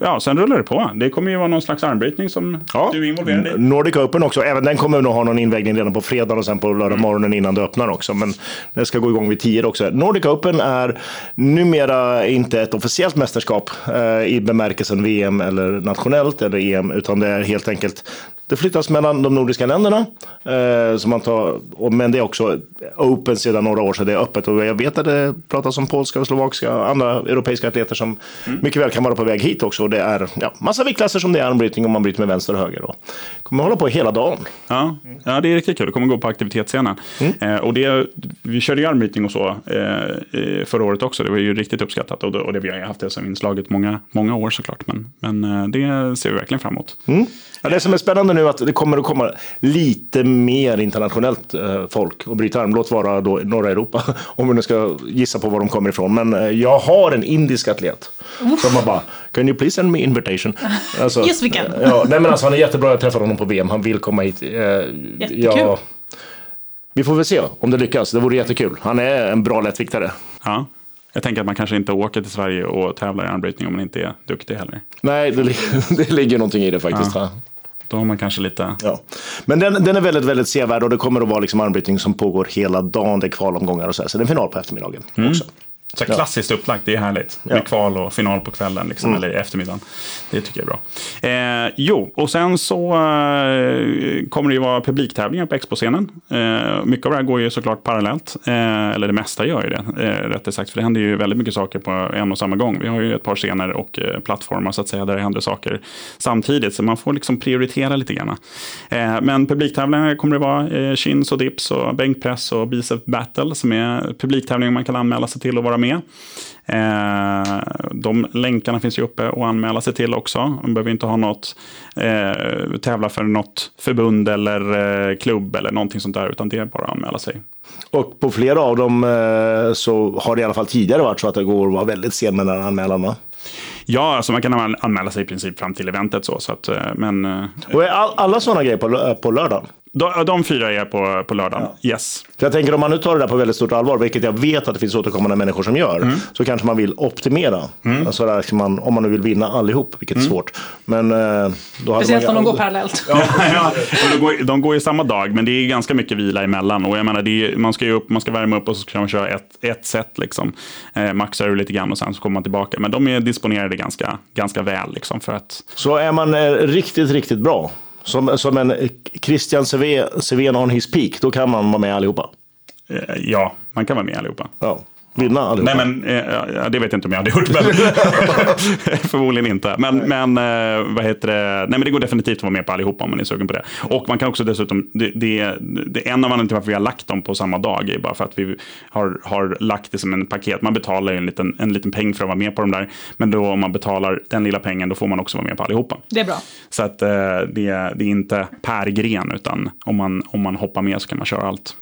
ja, sen rullar det på. Det kommer ju vara någon slags armbrytning som du är involverad i. Nordic Open också. Även den kommer nog ha någon invägning redan på fredag och sen på Mm. lördag morgonen innan det öppnar också. Men det ska gå igång vid 10 också. Nordic Open är numera inte ett officiellt mästerskap eh, i bemärkelsen VM eller nationellt eller EM, utan det är helt enkelt det flyttas mellan de nordiska länderna. Eh, som man tar, och, men det är också open sedan några år, så det är öppet. Och jag vet att det pratas om polska och slovakiska och andra europeiska atleter som mycket väl kan vara på väg hit också. Och det är ja, massa viktklasser som det är armbrytning och man bryter med vänster och höger. Då. Kommer hålla på hela dagen. Ja, ja, det är riktigt kul. Det kommer gå på aktivitetsscenen. Eh, och det, vi körde ju armbrytning och så eh, eh, förra året också. Det var ju riktigt uppskattat. Och, det- och det, vi har ju haft det som inslaget många, många år såklart. Men, men eh, det ser vi verkligen fram emot. Ja, det som är spännande nu är att det kommer att komma lite mer internationellt eh, folk och bryta arm. Låt vara då norra Europa, (laughs) om vi nu ska gissa på var de kommer ifrån. Men eh, jag har en indisk atlet som har bara, can you please send me invitation? Alltså, Yes, we can. Ja, nej, men alltså, han är jättebra, jag träffade honom på VM, han vill komma hit. Eh, ja, vi får väl se om det lyckas, det vore jättekul. Han är en bra lättviktare. Ja. Jag tänker att man kanske inte åker till Sverige och tävlar i armbrytning om man inte är duktig heller. Nej, det, li- (laughs) det ligger någonting i det faktiskt. va? Då har man kanske lite... Ja. Men den, den är väldigt, väldigt Mm. sevärd och det kommer att vara liksom armbrytning som pågår hela dagen. Det är kvalomgångar och så här. Sen är det final på eftermiddagen också. Så här klassiskt upplagt, det är härligt. Ja. Med kval och final på kvällen liksom, eller i eftermiddagen. Det tycker jag är bra. Eh, jo, och sen så eh, kommer det ju vara publiktävlingar på Expo-scenen. Eh, mycket av det här går ju såklart parallellt. Eh, eller det mesta gör ju det, eh, rättare sagt. För det händer ju väldigt mycket saker på en och samma gång. Vi har ju ett par scener och eh, plattformar så att säga, där det händer saker samtidigt. Så man får liksom prioritera lite grann. Eh, men publiktävlingar kommer det vara eh, chins och dips och bänkpress och bicep battle som är publiktävlingar man kan anmäla sig till och vara med. Eh, de länkarna finns ju uppe och anmäla sig till också. Man behöver inte ha något eh, tävla för något förbund eller eh, klubb eller någonting sånt där, utan det är bara att anmäla sig. Och på flera av dem eh, så har det i alla fall tidigare varit så att det går att vara väldigt sen med den här anmälan. Va? Ja, alltså man kan anmäla- anmäla sig i princip fram till eventet så, så att, eh, men eh, Och är all, alla sådana grejer på, lö- eh, på lördagen. de, de fyra är på, på lördagen. Yes. För jag tänker om man nu tar det där på väldigt stort allvar, vilket jag vet att det finns återkommande människor som gör, Mm. så kanske man vill optimera. Alltså där ska man, om man nu vill vinna allihop, vilket är svårt. Men, eh, då hade Speciellt man, Mm. om de går parallellt. (laughs) ja, och de, går, de går ju samma dag, men det är ganska mycket vila emellan. Och jag menar, det är, man, ska ju upp, man ska värma upp och så ska man köra ett, ett set. Liksom. Eh, maxar ur lite grann och sen så kommer man tillbaka. Men de är disponerade ganska, ganska väl. Liksom, för att, Så är man eh, riktigt, riktigt bra, som, som en eh, Christian Seven Seven on his peak, då kan man vara med allihopa. eh, ja, man kan vara med allihopa. Ja. Vinna allihopa. Nej, men eh, ja, det vet jag inte om jag hade gjort. Men förmodligen inte. Men, men, eh, vad heter det? Nej, men det går definitivt att vara med på allihopa om man är sugen på det. Och man kan också dessutom, det, det, det är en av anledningarna till varför vi har lagt dem på samma dag är bara för att vi har, har lagt det som en paket. Man betalar ju en liten, en liten peng för att vara med på de där. Men då om man betalar den lilla pengen, då får man också vara med på allihopa. Det är bra. Så att eh, det, det är inte per gren, utan om man, om man hoppar med så kan man köra allt.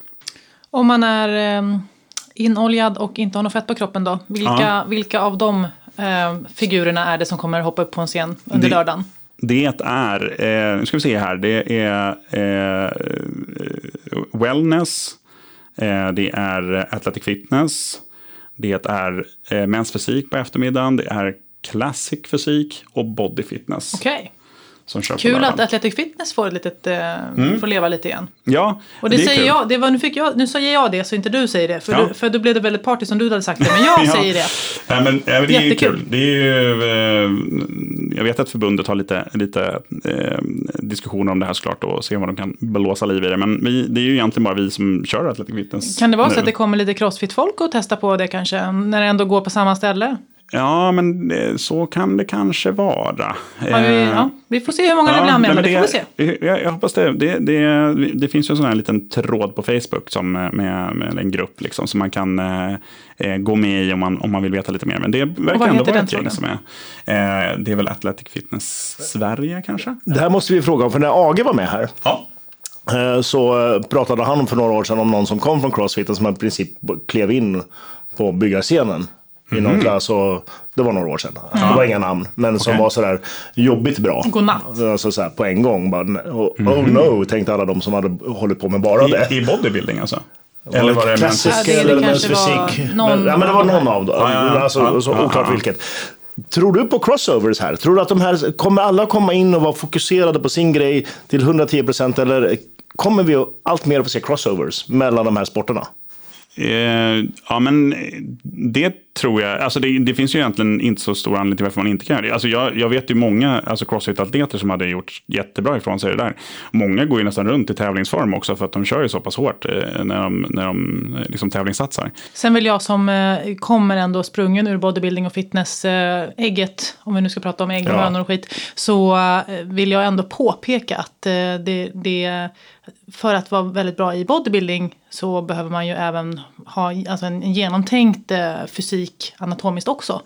Om man är ehm, inoljad och inte har något fett på kroppen då, vilka, Ja. vilka av de ehm, figurerna är det som kommer hoppa upp på en scen under Det- lördagen? Det är, eh, nu ska vi se här, det är eh, eh, wellness, eh, det är athletic fitness, det är eh, mäns fysik på eftermiddagen, det är classic fysik och body fitness. Okej, Som kör på kul lördagen. att Athletic Fitness får, ett litet, eh, får leva lite igen. Ja, Och det, Mm. är säger kul. jag, det var, nu, fick jag, nu säger jag det så inte du säger det, för, Ja. du, för då blev det väldigt partiskt om du hade sagt det, men jag (laughs) Ja. säger det. Nej, men, ja, men det är ju Jättekul. kul. Det är ju, eh, jag vet att förbundet har lite, lite eh, diskussioner om det här såklart och se vad de kan blåsa liv i det. Men vi, det är ju egentligen bara vi som kör Athletic Fitness Kan det vara nu. så att det kommer lite crossfit-folk och testa på det kanske, när det ändå går på samma ställe? Ja, men eh, så kan det kanske vara. Eh, Ja, vi, ja, vi får se hur många det blir anmälda, det får vi se. Jag, jag hoppas det. Det, det. det finns ju en sån här liten tråd på Facebook som, eh, med, med en grupp liksom, som man kan eh, eh, gå med i om man, om man vill veta lite mer. Men det verkar vad heter ändå vara den ett gäng tråden? som är... Eh, det är väl Athletic Fitness Sverige kanske? Det här måste vi fråga om, för när Age var med här, Ja. Eh, så eh, pratade han för några år sedan om någon som kom från Crossfiten som i princip b- klev in på byggarscenen. I Mhm. någon klass och det var några år sedan. Det var inga namn, men som Okej. var sådär jobbigt bra. Godnatt. Alltså såhär på en gång. Bara, n- och, Oh no, tänkte alla de som hade hållit på med bara det. Mhm. I, I bodybuilding alltså? Eller var det klassisk Ja, det- det eller kanske mens var fysik? någon men, ja, men det var av de någon här. av dem. ja, ja. alltså, Ja, så ja, oklart ja. vilket. Tror du på crossovers här? Tror du att de här kommer alla komma in och vara fokuserade på sin grej till 110 procent? Eller kommer vi allt mer att få se crossovers mellan de här sporterna? Eh, ja, men eh, det tror jag. Alltså det, det finns ju egentligen inte så stor anledning till varför man inte kan göra det. Alltså jag, jag vet ju många alltså crossfit-atleter som hade gjort jättebra ifrån sig det där. Många går ju nästan runt i tävlingsform också för att de kör ju så pass hårt eh, när de, när de eh, liksom tävlingssatsar. Sen vill jag som eh, kommer ändå sprungen ur bodybuilding och fitness-ägget, eh, ägget, om vi nu ska prata om ägg och Ja. hönor och skit, så eh, vill jag ändå påpeka att eh, det, det, för att vara väldigt bra i bodybuilding så behöver man ju även ha alltså en, en genomtänkt eh, fysik anatomiskt också.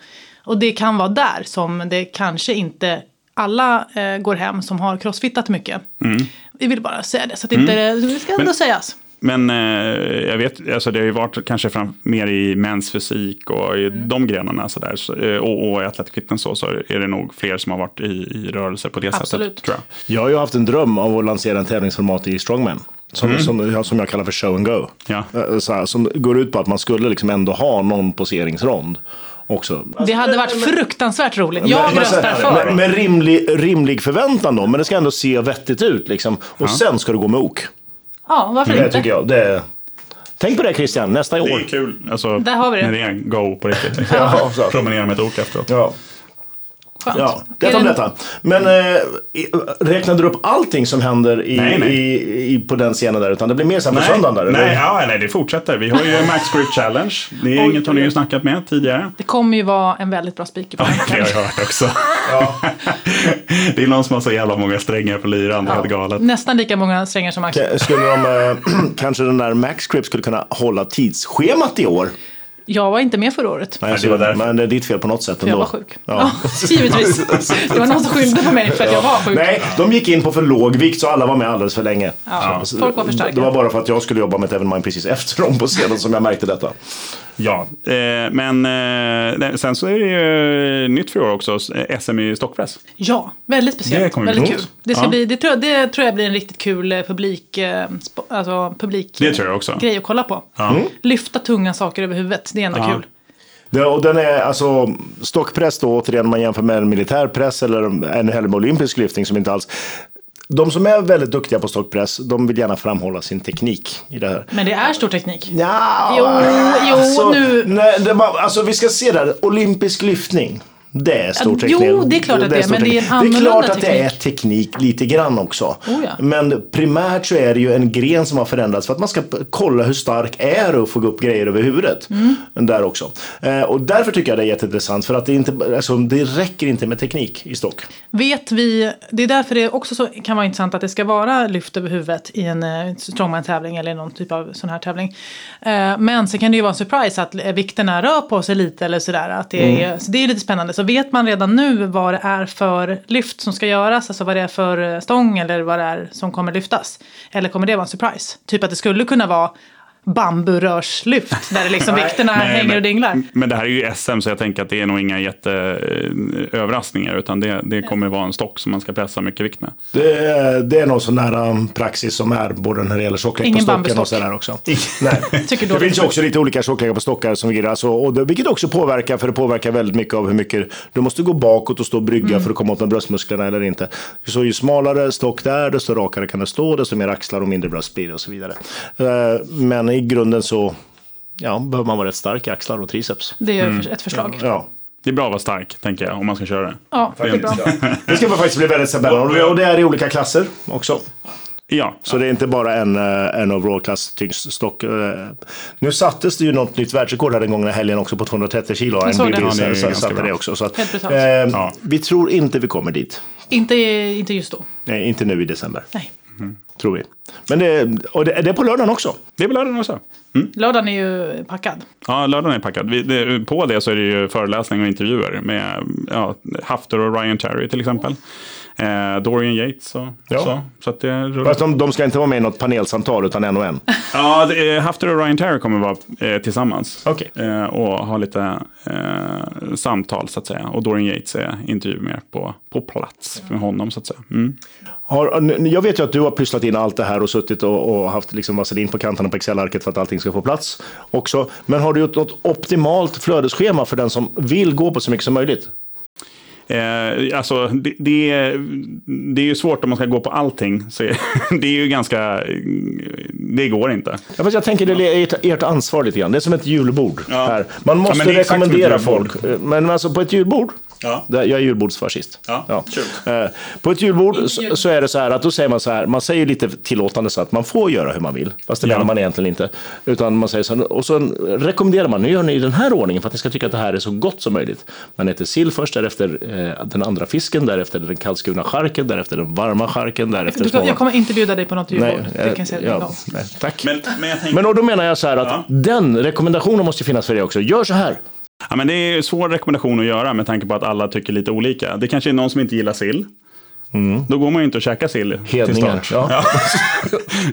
Och det kan vara där som det kanske inte alla eh, går hem som har crossfittat mycket. Mm. Vi vill bara säga det, så att inte, det ska ändå Men- sägas. Men eh, jag vet, alltså det har ju varit kanske fram, mer i mäns fysik och i Mm. de grenarna så där, så, eh, och, och i athletic fitness så, så är det nog fler som har varit i, i rörelse på det Absolut. sättet. Tror jag. Jag har ju haft en dröm om att lansera en tävlingsformat i strongman. Som, som, jag- som jag kallar för show and go. Mm. Ja. Eh, Så här, som går ut på att man skulle liksom ändå ha någon poseringsrond också. Det hade varit fruktansvärt roligt. Jag Men- men så- röstar för. men- Med rimlig, rimlig förväntan då, men det ska ändå se vettigt ut. Liksom. Och sen ska du gå med ok. Ja, varför Det typ- inte? tycker jag. Det, Tänk på det Christian, nästa Det år. är kul. Alltså, Där har vi det. När det är go på riktigt. (laughs) Ja, så. Promenera med ett ok efteråt. Ja. Skönt. Ja, detta Är om det- detta. Men eh, i- räknade du upp allting som händer i, Nej, nej. I, i, på den scenen där? Utan det blir mer sen på Nej, söndagen där? nej, eller? ja, nej, det fortsätter. Vi har (laughs) ju Max Grip Challenge. Det är inget hon har ju snackat med tidigare. Det kommer ju vara en väldigt bra speaker på Ja, den det har jag kanske. hört också. (laughs) det är någon som har så jävla många strängar på lyran. Det är helt galet. Nästan lika många strängar som Max. K- Skulle de, eh, (clears throat) kanske den där Max Grip skulle kunna hålla tidsschemat i år? Jag var inte med förra året. Nej, det var därför. men det är ditt fel på något sätt ändå. Jag var sjuk. Ja. Ja. (laughs) givetvis. Det var någon som skyllde på mig för att jag var sjuk. Nej, de gick in på för låg vikt så alla var med alldeles för länge. Ja, Så- folk var för starka. Det var bara för att jag skulle jobba med ett evenemang precis efter dem på scenen som jag märkte detta. Ja, eh, men eh, nej, sen så är det ju nytt för i år också. eh, SM i stockpress. Ja, väldigt Det speciellt. kommer bli väldigt kul. coolt. Det, ska Ja. bli, det, tror jag, det tror jag blir en riktigt kul eh, publik, eh, spo- alltså, publik Det tror jag också. Mm. grej att kolla på. Lyfta tunga saker över huvudet, det är ändå Ja. kul. Det, och den är alltså stockpress då, återigen om man jämför med en militär press eller ännu hellre med olympisk lyftning som inte alls. De som är väldigt duktiga på stockpress, de vill gärna framhålla sin teknik i det här. Men det är stor teknik. Ja, alltså, Jo, jo, nu- Nej, det, var- alltså vi ska se där, olympisk lyftning. Det är stor Ja, teknik. jo, det är klart att det är, stor men det är en teknik. Det är annorlunda klart att det är teknik. teknik lite grann också. Oh ja. Men primärt så är det ju en gren som har förändrats för att man ska p- kolla hur stark är du och få upp grejer över huvudet. Mm. Där också. Eh, och därför tycker jag det är jätteintressant för att det, är inte, alltså, det räcker inte med teknik i stock. Vet vi, det är därför det också så, kan vara intressant att det ska vara lyft över huvudet i en eh, strongman-tävling eller någon typ av sån här tävling. Eh, men sen kan det ju vara en surprise att eh, vikterna rör på sig lite eller sådär. Att det, är, så det är lite spännande. Så vet man redan nu vad det är för lyft som ska göras, alltså vad det är för eh, stång eller vad det är som kommer lyftas. Eller kommer det vara en surprise? Typ att det skulle kunna vara bamburörslyft där det liksom vikterna hänger och dinglar. Men, men det här är ju SM så jag tänker att det är nog inga jätteöverraskningar. Utan det, det kommer vara en stock som man ska pressa mycket vikt med. Det, är- det är någon sån där um, praxis som är både när det gäller tjocklek på Ingen stocken och bambustock. sådär också. (laughs) Nej. Tycker Det då finns ju också lite olika tjocklekar på stockar som ligger, alltså, och det, vilket också påverkar, för det påverkar väldigt mycket av hur mycket du måste gå bakåt och stå och brygga Mm. för att komma åt med bröstmusklerna eller inte. Så ju smalare stock där, desto rakare kan det stå, desto mer axlar och mindre bröst blir det och så vidare. Eh, Men i grunden så ja, behöver man vara rätt stark i axlar och triceps. Det är ett förslag. Ja. Det är bra att vara stark, tänker jag, om man ska köra det. Ja, det är bra. Det ska faktiskt bli väldigt spännande och det är i olika klasser också. Ja, Så det är inte bara en, eh, en overall-klass tyngdstock. eh. Nu sattes det ju något nytt världsrekord här den gångna helgen också på 230 kilo. En såg det. bild Ja, det är sen- ju sen ganska satte bra. det också. Så att, Helt brutalt. eh, Ja. Vi tror inte vi kommer dit. Inte, inte just då. Nej, inte nu i december, Nej. tror vi. Men det, och det, det är på lördagen också. det är väl lördagen också. Lördagen är ju packad. Ja, lördagen är packad. Vi, det, på det så är det ju föreläsningar och intervjuer med ja, Hafter och Ryan Terry till exempel. Eh, Dorian Yates och Ja. så. Så att det rullar. Fast de, de ska inte vara med i något panelsamtal, utan en och en. Ja, det, eh, Hafter och Ryan Terry kommer vara eh, tillsammans. Okej. Eh, och ha lite eh, samtal så att säga. Och Dorian Yates är intervju med på, på plats med honom så att säga. Mm. Har, n- jag vet ju att du har pysslat in allt det här och suttit och, och haft liksom vaselin på kanterna på Excel-arket för att allting ska få plats också. Men har du gjort något optimalt flödesschema för den som vill gå på så mycket som möjligt? Eh, alltså, det, det, är- det är ju svårt om man ska gå på allting. Så det är (laughs) ju ganska... Det går inte. Ja, fast jag tänker det är ert, ert ansvar lite grann. Det är som ett julbord. Ja. Här. Man måste men det är exakt rekommendera som ett folk. Men alltså på ett julbord. Ja. Där- Jag är julbordsfascist. Ja, kul. Eh, På ett julbord så, så är det så här att då säger man så här. Man säger lite tillåtande så att man får göra hur man vill. Fast det Ja. menar man egentligen inte. Utan man säger så här, och så rekommenderar man. Nu gör ni i den här ordningen för att ni ska tycka att det här är så gott som möjligt. Man äter sill först, därefter eh, den andra fisken, därefter den kallskurna charken, därefter den varma charken, därefter Du, små- jag kommer inte bjuda dig på något julbord. Nej, eh, Det kan jag säga ja, ja. en gång. nej, Tack. Men, men jag tänker... Men och då menar jag så här att Ja. den rekommendationen måste ju finnas för dig också. Gör så här. Ja, men det är ju en svår rekommendation att göra med tanke på att alla tycker lite olika. Det kanske är någon som inte gillar sill. Då går man ju inte och käkar sill till Mm. Hedningar. start. Ja.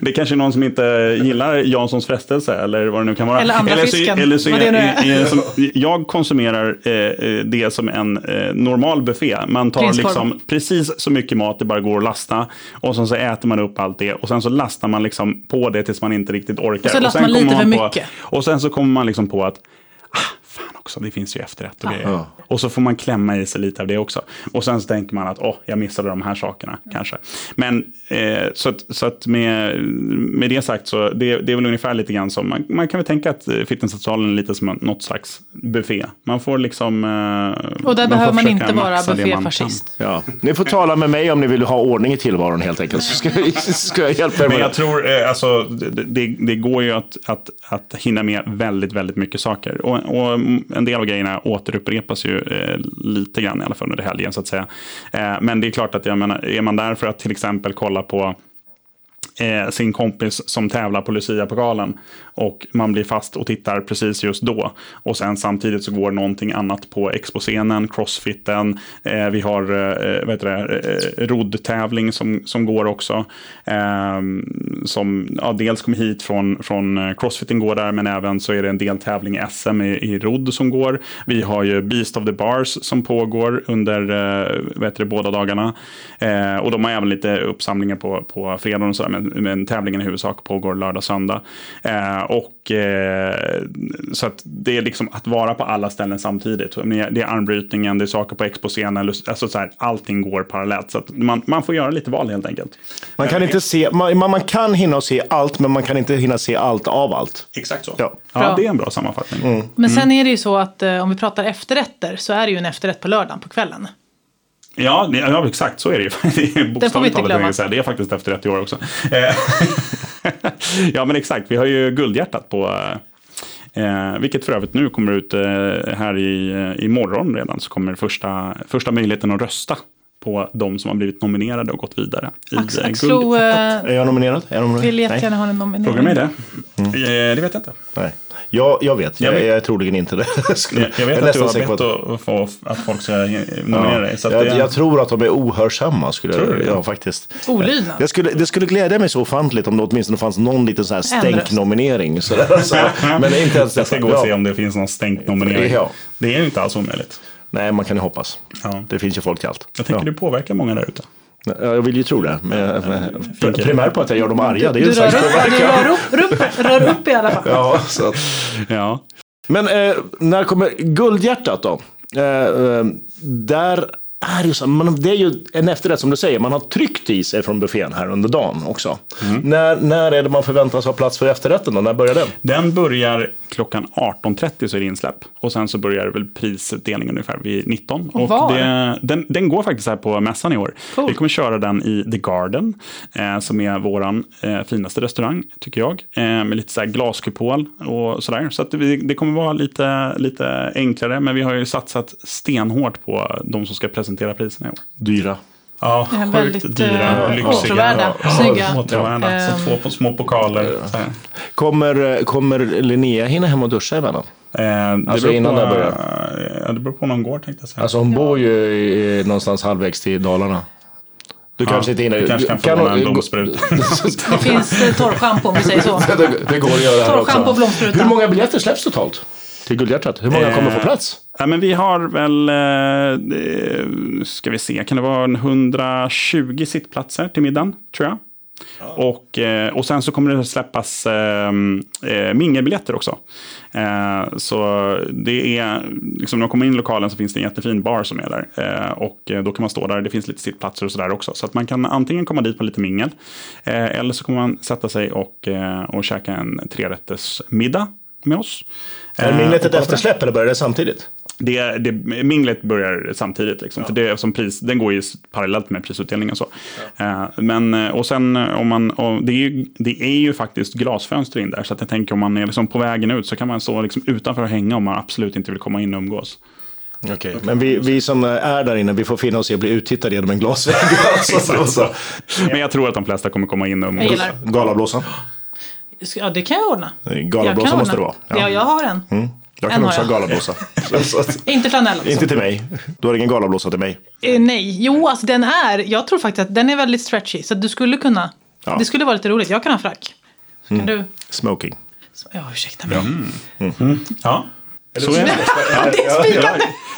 (laughs) Det kanske är någon som inte gillar Janssons frestelse eller vad det nu kan vara. Eller andra eller så, fisken, Eller så vad det är, nu är, är. som, jag konsumerar eh, eh, det som en eh, normal buffé. Man tar Prinskorv. liksom precis så mycket mat det bara går att lasta. Och sen så äter man upp allt det. Och sen så lastar man liksom på det tills man inte riktigt orkar. Och så lastar man sen lite kommer för på, mycket. Och sen så kommer man liksom på att ah, fan också. Det finns ju efterrätt och grejer. Och så får man klämma i sig lite av det också. Och sen så tänker man att åh, jag missade de här sakerna Mm. kanske. Men eh, så, att, så att med, med det sagt så det, det är väl ungefär lite grann som man, man kan väl tänka att eh, fitnessavtalen är lite som en- något slags buffé. Man får liksom... Eh, Och där behöver får man försöka inte vara maxa det man kan. bufféfascist. Ja. Ni får tala med mig om ni vill ha ordning i tillvaron helt enkelt. Så ska, jag- ska jag hjälpa er med Men jag det. tror, eh, alltså, det, det, det går ju att, att, att hinna med väldigt, väldigt mycket saker. Och, och en del av grejerna återupprepas ju eh, lite grann i alla fall under helgen så att säga. Eh, men det är klart att jag menar, är man där för att till exempel kolla på eh, sin kompis som tävlar på Lucia-pokalen och man blir fast och tittar precis just då. Och sen samtidigt så går någonting annat på exposcenen, crossfiten, eh, vi har eh, vad heter det, eh, roddtävling som, som går också. Eh, som ja, dels kommer hit från, från eh, crossfiten går där men även så är det en deltävling i SM i, i rodd som går. Vi har ju Beast of the Bars som pågår under eh, vad heter det, båda dagarna. Eh, och de har även lite uppsamlingar på, på fredagen och sådär, men, men tävlingen i huvudsak pågår lördag och söndag. Eh, och, eh, så att det är liksom att vara på alla ställen samtidigt. Jag menar, Det är armbrytningen, det är saker på exposcenen, alltså så här, allting går parallellt. Så att man, man får göra lite val helt enkelt. Man kan inte se, man, man kan hinna och se allt, men man kan inte hinna se allt av allt. Exakt så. Mm. Ja. Ja, Bra. det är en bra sammanfattning. Men sen är det ju så att eh, om vi pratar efterrätter så är det ju en efterrätt på lördagen på kvällen. Ja, det- ja, exakt så är det ju. (laughs) Det är inte bokstavligt talat, glömma. jag vill säga. det är faktiskt efter 30 år också. Eh, (laughs) ja, men exakt. Vi har ju Guldhjärtat på, eh, vilket för övrigt nu kommer ut eh, här i eh, imorgon redan, så kommer första, första möjligheten att rösta på de som har blivit nominerade och gått vidare. i, eh, Axel Guld- Axlo eh, Är jag nominerad? Är jag nominerad? vill Nej. jättegärna ha en nominering. Frågar mig det? Mm. Eh, det vet jag inte. Nej. Jag, jag vet, jag, Jag jag, vet. är troligen inte det. (laughs) Skulle- Jag, jag vet är att du nästan har säker på bett att, att, få, att folk ska eh, nominera dig. Så att jag, det, jag tror att de är ohörsamma. Skulle Tror du jag, det? ja, faktiskt. Olydnad. Jag skulle, det skulle glädja mig så ofantligt om det åtminstone fanns någon liten så här En stänknominering. Så där, så, men inte ens jag ska detta. gå och Ja. se om det finns någon stänkt nominering. Ja. Det är ju inte alls omöjligt. Nej, man kan ju hoppas. Ja. Det finns ju folk till allt. Jag tänker ja. du påverkar många där ute. Ja, jag vill ju tro det. Men, jag- men, Fint. primärt på att jag gör dem arga. Det är Du ju rör sagt. upp, ja, du rör upp, rör upp, rör upp i alla fall. Ja, så att. Ja. Men eh, när kommer Guldhjärtat då? Eh, eh, där är ju så, man, det är ju en efterrätt som du säger, man har tryckt i sig från buffén här under dagen också. Mm. När, när är det man förväntas ha plats för efterrätten då? När börjar den? Den börjar klockan 18.30 så är det insläpp. Och sen så börjar väl prisutdelningen ungefär vid 19. Och var? det, den, den går faktiskt här på mässan i år. Cool. Vi kommer köra den i The Garden, eh, som är våran eh, finaste restaurang, tycker jag. Eh, med lite så här glaskupol och sådär. Så att det, det kommer vara lite, lite enklare, men vi har ju satsat stenhårt på de som ska presentera priserna i år. Dyra. Ja, är sjukt väldigt, dyra, eh, lyxiga. åtråvärda, snygga. Åtråvärda. Ehm. Så två på små pokaler. Så här. Kommer, eh, kommer Linnea hinna hem och duscha emellan? Eh, det Alltså beror innan på, det börjar. eh, Ja, det beror på någon går tänkte jag säga. Alltså hon bor ju i, i, någonstans halvvägs till Dalarna. Du kanske inte hinner. Du kanske kan få hon- låna en blomspruta. Det finns eh, torrschampo om vi säger så. (laughs) det, det går att göra här Torrschampo och också. blomspruta. Hur många biljetter släpps totalt? Till Guldhjärtat? Hur många kommer få Eh, plats? Ja, men vi har väl, eh, eh, ska vi se, kan det vara en 120 sittplatser till middagen, tror jag. Och, eh, och sen så kommer det släppas eh, eh, mingelbiljetter också. Eh, så det är, liksom, när man kommer in i lokalen så finns det en jättefin bar som är där. Eh, och eh, då kan man stå där, det finns lite sittplatser och sådär också. Så att man kan antingen komma dit på lite mingel, eh, eller så kommer man sätta sig och, eh, och käka en trerättersmiddag med oss. Är Eh, minglet ett och- eftersläpp eller börjar det samtidigt? det, det, minglet börjar samtidigt, liksom, för det, som pris, den går ju s- parallellt med prisutdelningen. och Så. Eh, men, eh, och sen eh, om man, och det, är ju, det är ju faktiskt glasfönster in där, så att jag tänker om man är liksom på vägen ut så kan man stå liksom utanför och hänga om man absolut inte vill komma in och umgås. Okej, men vi, vi som är där inne, vi får finna oss i att bli uttittade genom en (laughs) glasvägg. alltså, så, så. Men jag tror att de flesta kommer komma in och Jag umgås. gillar. Galablåsa. Ja, det kan jag ordna. Jag Galablåsa kan måste det ordna. vara. Ja. Ja, jag har en. Jag kan En också har ha (laughs) galablåsa. Så- så att- Inte flanell alltså. Inte till mig. Du har ingen galablåsa till mig. Eh, nej, jo alltså den är, jag tror faktiskt att den är väldigt stretchy. Så att du skulle kunna, Ja. det skulle vara lite roligt. Jag kan ha frack. Så kan Mm. du, Smoking. så, ja ursäkta mig. Ja. Så är det. Ja, det är spikat!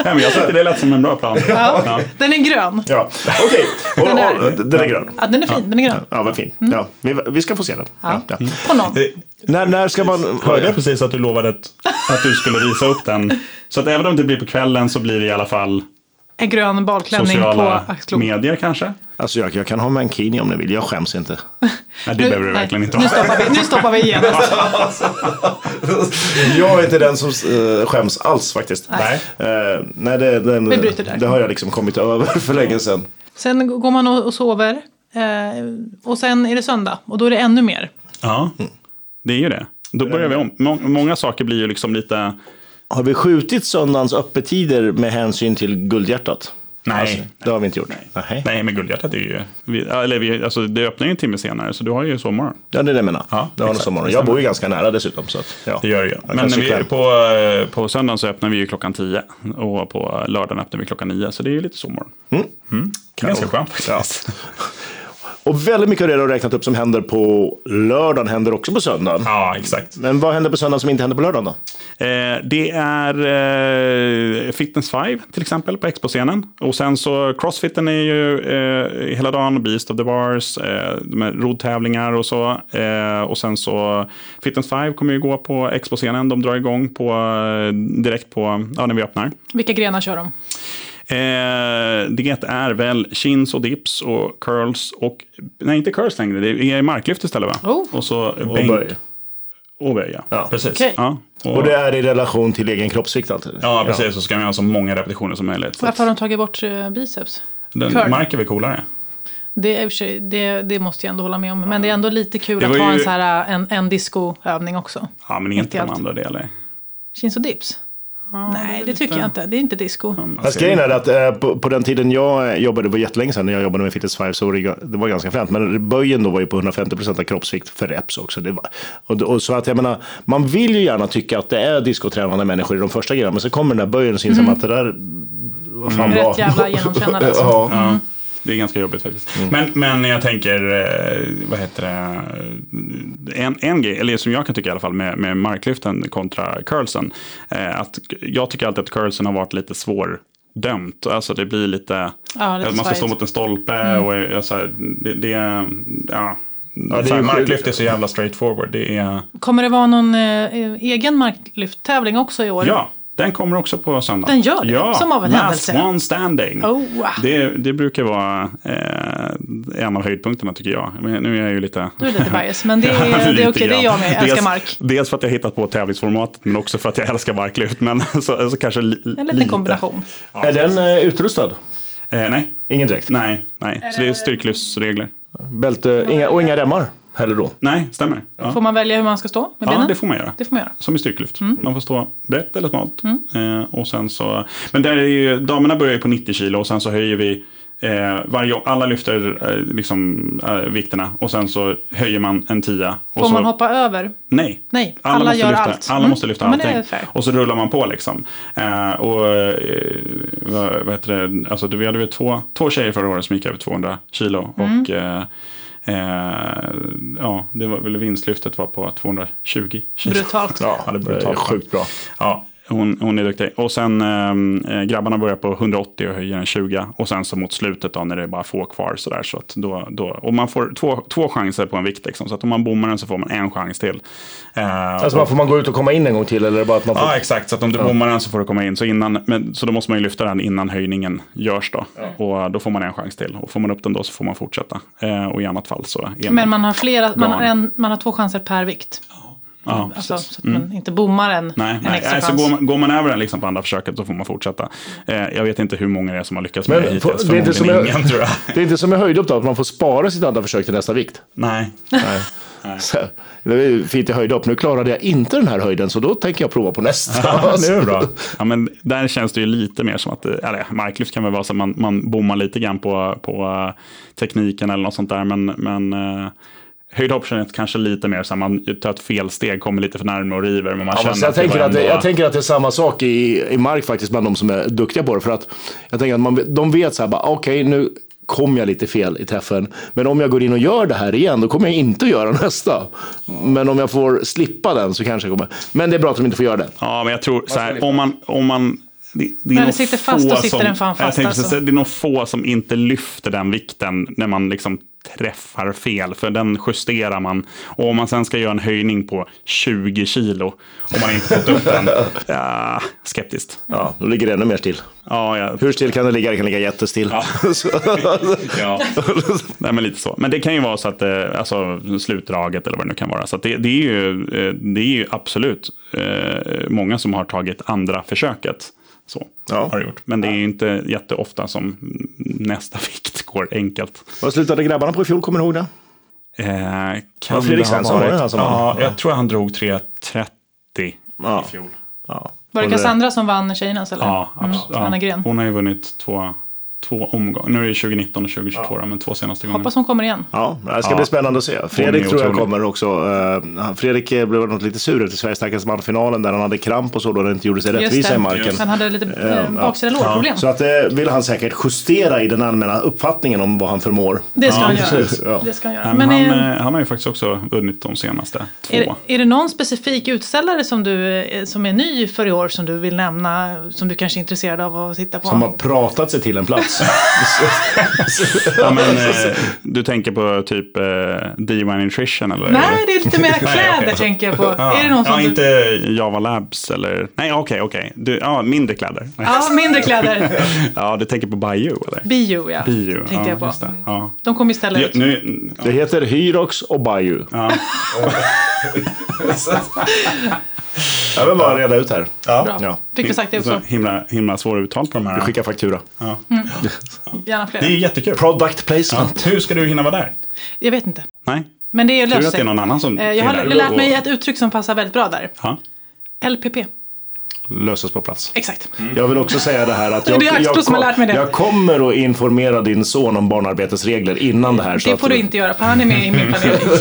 Nej, men jag tyckte det lät som en bra plan. Ja. Den är grön. Ja, (laughs) okej. Och- Den är- Mm. och- Den är grön. Ja, den är fin, den är grön. Ja, vad fin. Ja, vi, vi ska få se den. Ja. Ja. På någon. Eh, När, när ska man... Hörde jag precis att du lovade ett att du skulle visa upp den. Så att även om det blir på kvällen så blir det i alla fall En grön balklänning på sociala axelklotet. medier kanske. Alltså jag, jag kan ha mankini om ni vill, jag skäms inte. Nej, det behöver du verkligen inte Nu ha. stoppar vi, nu stoppar vi igen. (laughs) Jag är inte den som eh, skäms alls faktiskt. Nej. Eh, nej, det, den, Vi bryter där. det har jag liksom kommit över (laughs) för länge sedan. Sen går man och och sover. eh, Och sen är det söndag och då är det ännu mer. Ja, det är ju det. Då börjar vi om. Må- Många saker blir ju liksom lite... Har vi skjutit söndagens öppettider med hänsyn till Guldhjärtat? Nej. Alltså, det har vi inte gjort. Nej. Nej, men Guldhjärtat är ju... Vi, eller vi, alltså, det öppnar ju en timme senare, så du har ju sommaren. Ja, det är det jag menar. Ja, det har exakt. någon morgon. Jag bor ju ganska nära dessutom. Så att, ja. Det gör det ju. Men kanske vi, ikväll. på, eh, på söndagen så öppnar vi ju klockan 10 och på lördagen öppnar vi klockan 9, så det är ju lite sommaren. Mm. Ganska skönt faktiskt. Ja. (laughs) Och väldigt mycket av det du har räknat upp som händer på lördagen händer också på söndagen. Ja, exakt. Men vad händer på söndagen som inte händer på lördagen då? Eh, det är eh, Fitness 5 till exempel på Expo-scenen. Och sen så Crossfiten är ju eh, hela dagen, Beast of the Bars, eh, de här roddtävlingar och så. Eh, och sen så Fitness 5 kommer ju gå på Expo-scenen. De drar igång på, eh, direkt på, ja, när vi öppnar. Vilka grenar kör de? Eh, det är väl chins och dips och curls och, nej inte curls längre, det är marklyft istället va? Oh. Och så Och bänk böj. och böj. Ja. Ja. Precis. Okej. Ja. Och, Och det är i relation till egen kroppsvikt alltid? Ja, precis. Så ska man göra så många repetitioner som möjligt. Varför har de tagit bort eh, biceps? Den, Curl. Mark är väl coolare? Det, är i och för sig- det, det måste jag ändå hålla med om. Men det är ändå lite kul Det att var ha ju- en, så här, eh, en, en discoövning också. Ja, men Inte inte de allt. andra delar. Chins och dips? Nej, det tycker jag inte. Det är inte disco. Alltså, Fast grejen är att eh, på, på den tiden jag jobbade, det var jättelänge sedan när jag jobbade med Fitness 5, så var det, ga- det var ganska fränt. Men böjen då var ju på 150% av kroppsvikt för reps också. Det var, och, och så att jag menar, man vill ju gärna tycka att det är discotränande människor i de första grejerna, men så kommer den där böjen och så inser man att det där, vad fan Mm. Rätt var? (laughs) jävla genomkännande, alltså. ja. (laughs) Ja, det är ganska jobbigt faktiskt. Mm. Men, men jag tänker, eh, vad heter det, en, en grej, eller som jag kan tycka i alla fall med, med marklyften kontra curlsen, eh, att jag tycker alltid att curlsen har varit lite svår dömt. Alltså det blir lite, Ja, lite att man ska svajigt. Mm. stå mot en stolpe och eh, så här, det, det är, ja. är så här, ju- marklyft är så jävla straightforward. Det är, Kommer det vara någon eh, egen marklyfttävling också i år? Ja, den kommer också på söndag. Den gör det? Ja, Som av en Last händelse. one standing. Oh. Det, det brukar vara eh, en av höjdpunkterna tycker jag. Men nu är jag ju lite... Du är lite bias, (laughs) men (laughs) det Ja, är, det är lite okej. Det är grann. jag med. Jag älskar dels, mark. Dels för att jag hittat på tävlingsformatet, men också för att jag älskar marklyft. Men (laughs) så, så kanske li, En liten lite. kombination. Är den eh, utrustad? Eh, nej, Ingen dräkt? nej, nej. Så det är styrkelyftsregler. Bälte, inga, och inga remmar heller då? Nej, stämmer. Ja. Får man välja hur man ska stå med Ja, benen? det får man göra. Det får man göra. Som i styrkelyft. Mm. Man får stå brett eller smalt. Eh, och sen så, men där är ju, damerna börjar ju på 90 kilo och sen så höjer vi eh, varje, alla lyfter eh, liksom, eh, vikterna och sen så höjer man en tia. Och Får så, man hoppa över? Nej. Nej, alla måste gör lyfta, allt. Alla Mm. måste lyfta Ja, men det allting. är fair. Och så rullar man på liksom. Eh, och eh, vad, vad heter det, alltså det- vi hade ju två, två tjejer förra året som gick över 200 kilo. Mm. Och eh, eh, ja, det var väl vinstlyftet var på 220 kilo. Brutalt. (laughs) Ja, det är Det är brutalt. sjukt bra. Ja, hon, hon är duktig. Och sen eh, grabbarna börjar på 180 och höjer en 20. Och sen så mot slutet då när det är bara få kvar så där. Så att då, då, och man får två, två chanser på en vikt liksom. Så att om man bommar den så får man en chans till. Eh, Alltså man får man gå ut och komma in en gång till eller är det bara att man får... Ja, exakt. Så att om du bommar den så får du komma in. Så, innan, men, så då måste man ju lyfta den innan höjningen görs då. Och då får man en chans till. Och får man upp den då så får man fortsätta. Eh, och i annat fall så är Men man har, flera, man, har Garn. en, man har två chanser per vikt. ja, Mm. Alltså, så att man inte bommar en, Nej, en nej. extra nej så chans. går man, går man över den liksom på andra försöket så får man fortsätta. Eh, jag vet inte hur många det är som har lyckats med Men det får- hittills. det är inte som Förmodligen jag- (laughs) ingen tror jag. Det är inte som med höjdhopp då, att man får spara sitt andra försök till nästa vikt. Nej. Så, här, det var ju fint i höjdhopp. Nu klarade jag inte den här höjden så då tänker jag prova på nästa. det är bra. Ja, men där känns det ju lite mer som att, det- eller marklyft kan väl vara så att man, man bommar lite grann på, på eh, tekniken eller något sånt där. Men, men eh, höjdhopp känns kanske lite mer så att man tar ett felsteg, kommer lite för närmare och river. Men man Ja, känner fast jag, det tänker var att det, ändå- jag tänker att det är samma sak i, i mark faktiskt bland de som är duktiga på det. För att jag tänker att man, de vet så här, bara, okej nu kom jag lite fel i träffen. Men om jag går in och gör det här igen, då kommer jag inte att göra (laughs) nästa. Men om jag får slippa den så kanske jag kommer. Men det är bra att de inte får göra det. Ja, men jag tror så här, om man... Om man det, det När det nog sitter fast, få då sitter som, den fan jag fast, tänkte alltså. säga, Det är nog få som inte lyfter den vikten när man liksom träffar fel, för den justerar man. Och om man sen ska göra en höjning på 20 kilo, om man inte fått upp den, ja, skeptiskt. Ja, då ligger det ännu mer still. Ja, jag, Hur still kan det ligga? Det kan ligga jättestill. (laughs) Så- Ja, (laughs) Nej, men lite så. Men det kan ju vara så att, eh, alltså slutdraget eller vad det nu kan vara. Så att det, det, är ju, eh, det är ju absolut eh, många som har tagit andra försöket. Så Ja. har det gjort. Men det är ju inte jätteofta som nästa (laughs) vikt går enkelt. Vad slutade grabbarna på i fjol? Kommer ni ihåg det? Eh, kan Ja, Fredrik det ha Svensson var det han som Ja, vann. jag tror han drog 3.30 Ja. i fjol. Ja. Var det Håller det? Cassandra som vann tjejernas eller? Ja, absolut. Mm. Anna Ja. Gren. Hon har ju vunnit två, två omgångar. Nu är det 2019 och 2022, då, men två senaste gångerna. Hoppas hon kommer Mm. igen. Ja, det här ska bli spännande att se. Fredrik är tror jag otrolig. kommer också. Eh, han- Fredrik eh, blev något lite sur efter Sveriges man finalen där han hade kramp och så då det inte gjorde sig rättvisa i marken. Han hade lite eh, baksida lårproblem. Så att det vill han säkert justera i den allmänna uppfattningen om vad han förmår. Det ska han göra. precis. (laughs) Ja. Det ska han göra. Nej, men Men, han, eh, eh, han har ju faktiskt också vunnit de senaste två. eh, är, det, är det någon specifik utställare som du eh, som är ny för i år som du vill nämna? Som du kanske är intresserad av att titta på? Som har pratat sig till en (laughs) plats. (laughs) Ja, men, eh, du tänker på typ eh, Diva Nutrition eller? Nej, det är lite (laughs) mer kläder okej. tänker jag på. Ja, Är det någon som ja, du... inte Java Labs eller? Nej, okej, okej. Du, ja, mindre kläder. (laughs) Ja, mindre kläder. Ja, du tänker på Bio eller? Bio, ja. Bio, tänkte ja, jag på. just det. Ja. De kommer ju ställa Ja, ut. nu, det heter Hyrox och Bayou. (laughs) ja. Jag vill bara reda ut här. Bra. Ja. Fick vi sagt det Så också. Mm. himla, himla svåra uttal på de här. Skicka faktura. Gärna Det är fler. ju jättekul. Product Ja. placement. Hur ska du hinna vara där? Jag vet inte. Nej, Men det är tur löst att det är någon annan som Eh, Jag har gillar lärt mig och- ett uttryck som passar väldigt bra där. Ja. LPP. Löses på plats. Exakt. Mm. Jag vill också säga det här att (laughs) Det är jag, Axel jag, som har lärt mig det. jag kommer att informera din son om barnarbetesregler innan det här. så Det att får (laughs) du inte göra, för han är med i (laughs) min planering.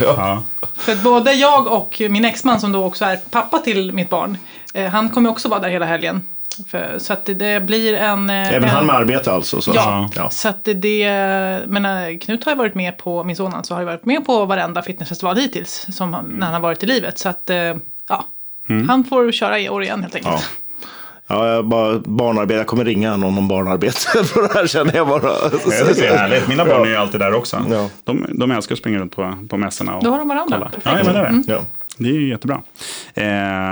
Ja. För att både jag och min exman som då också är pappa till mitt barn, eh, han kommer också vara där hela helgen. För, så att det, det blir en... eh, Även en, han med arbete alltså. Så. Ja, ja. så att det- det, men eh, Knut har ju varit med på, min son alltså, har ju varit med på varenda fitnessfestival hittills som han, när han har varit i livet. Så att, eh, ja, Mm. han får köra i år igen helt enkelt. Ja. Ja, jag bara, barnarbete. Jag kommer ringa någon om barnarbete (laughs) för det här känner jag bara. Jag tycker det är härligt. Mina barn är ju alltid där också. Ja. De, de älskar att springa runt på, på mässorna. Och Då har de varandra. kolla. Perfekt. Mm. Ja, jag menar det. Ja. Det är ju jättebra. Eh,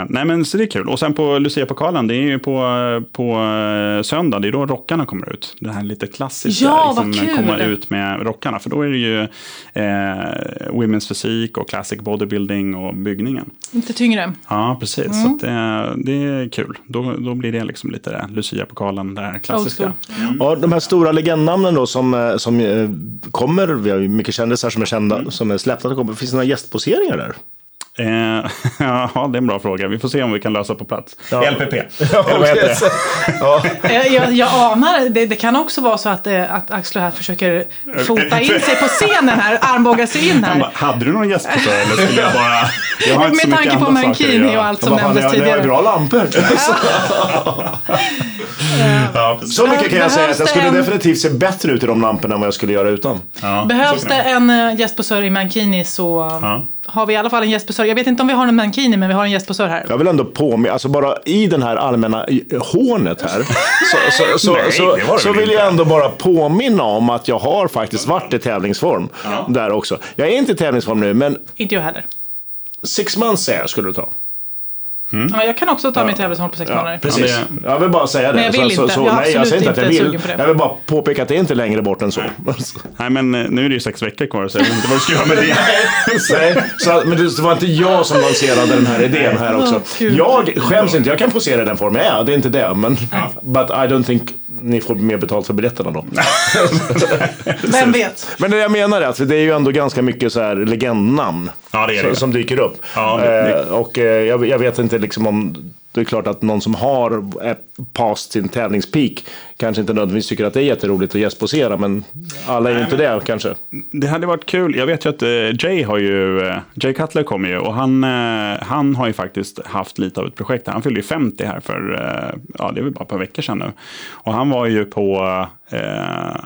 nej, men så det är kul. Och sen på Lucia-pokalen, det är ju på, på eh, söndag, det är då rockarna kommer ut. Det här lite klassiska, liksom, Ja, vad kul! komma ut med rockarna. För då är det ju eh, Women's fysik och classic bodybuilding och byggningen. Inte tyngre. Ja, precis. Mm. Så att det, det är kul. Då, då blir det liksom lite det, Lucia-pokalen, det här klassiska. Old Ja, de här stora legendnamnen då som, eh, som eh, kommer, vi har ju mycket kändisar som är kända, Mm. som är släppta, och kommer. finns det några gästposeringar där? Eh, (laughs) ja, det är en bra fråga. Vi får se om vi kan lösa på plats. Ja. LPP. Eller vad heter det? ja. Eh, Jag, jag anar, det, det kan också vara så att, eh, att Axel här (laughs) försöker fota in sig på scenen här, armbåga sig in Han här. bara, hade du någon gästspelare (laughs) eller skulle jag bara... Jag har inte så Med mycket tanke på andra saker att mankini göra." och allt Jag som bara, fan, ni nämndes har- ni har ju tidigare. bra lampor. Ja, precis. Så mycket kan jag säga att jag skulle Behövs det en- definitivt se bättre ut i de lamporna än vad jag skulle göra utan. Ja, Behövs så det kan en eh, gästposör i mankini så Ja. har vi i alla fall en gästposör. Jag vet inte om vi har en mankini men vi har en gästposör här. Jag vill ändå påminna, alltså bara i den här allmänna i- eh, hånet (laughs) här, så, så, så, Nej, det var så, det så, väl vill inte. jag ändå bara påminna om att jag har faktiskt varit i tävlingsform där också. Jag är inte i tävlingsform nu, men Inte jag heller. Mm. six months säger jag skulle du ta. Ja, jag kan också ta mig till Tävelsholm på sex Ja, månader. precis. Ja, Jag vill bara säga det. Men jag vill så, inte. så, Jag är nej, jag absolut säger inte att jag inte vill. sugen på det. Jag vill bara påpeka att det är inte längre bort än (laughs) så. (laughs) det. Nej, men eh, nu är det ju sex veckor kvar så jag vet inte vad du ska göra med det. (laughs) Nej, så, att- men det var inte jag som lanserade den här idén här också. Åh, Gud. jag skäms inte, jag kan posera i den form jag är. Det är inte det, men... But I don't think ni får mer betalt för biljetterna då. Vem vet? Men det jag menar är att det är ju ändå ganska mycket så här legendnamn Ja, det är det som, ju. som dyker upp. Ja, det- det- Eh, och eh, jag, jag vet inte liksom om... Det är klart att någon som har eh, past sin tävlingspeak kanske inte nödvändigtvis tycker att det är jätteroligt att gästposera, men alla är ju inte det kanske. Det hade varit kul. Jag vet ju att eh, Jay har ju, eh, Jay Cutler kommer ju och han, eh, han har ju faktiskt haft lite av ett projekt. här. Han fyllde ju 50 här för, eh, ja det är väl bara ett par veckor sedan nu. Och han var ju på eh,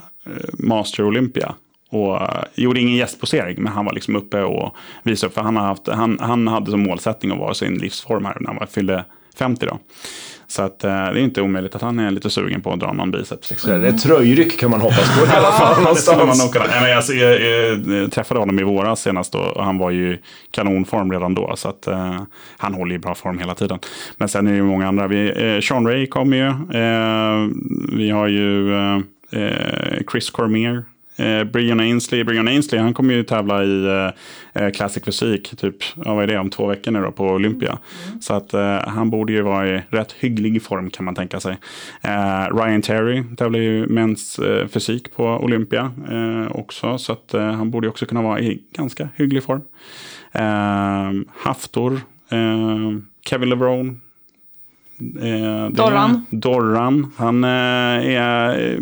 Master Olympia. Och eh, gjorde ingen gästposering, men han var liksom uppe och visade upp. För han, har haft, han, han hade som målsättning att vara i sin livsform här när han var, fyllde 50 då. Så att, eh, det är inte omöjligt att han är lite sugen på att dra någon biceps. Liksom. Så här, Ett tröjryck kan man hoppas på i alla (laughs) fall. Det skulle man nog någonstans. kunna. Nej, men jag, jag, jag, eh, träffade honom i våras senast och och han var ju kanonform redan då. Så att, eh, han håller ju bra form hela tiden. Men sen är det ju många andra. Vi, eh, Sean Ray kommer ju. Eh, vi har ju eh, eh, Chris Cormier. Eh, Brian Ainsley, Brian Ainsley, han kommer ju tävla i eh, eh, Classic Fysik, typ, ja, vad är det, om två veckor nu då på Olympia. Så att eh, han borde ju vara i rätt hygglig form kan man tänka sig. Eh, Ryan Terry tävlar ju mäns eh, fysik på Olympia eh, också, så att eh, han borde ju också kunna vara i ganska hygglig form. Eh, Haftor, eh, Kevin Levrone, Eh, det- Dorran. Dorran. Han eh, är eh,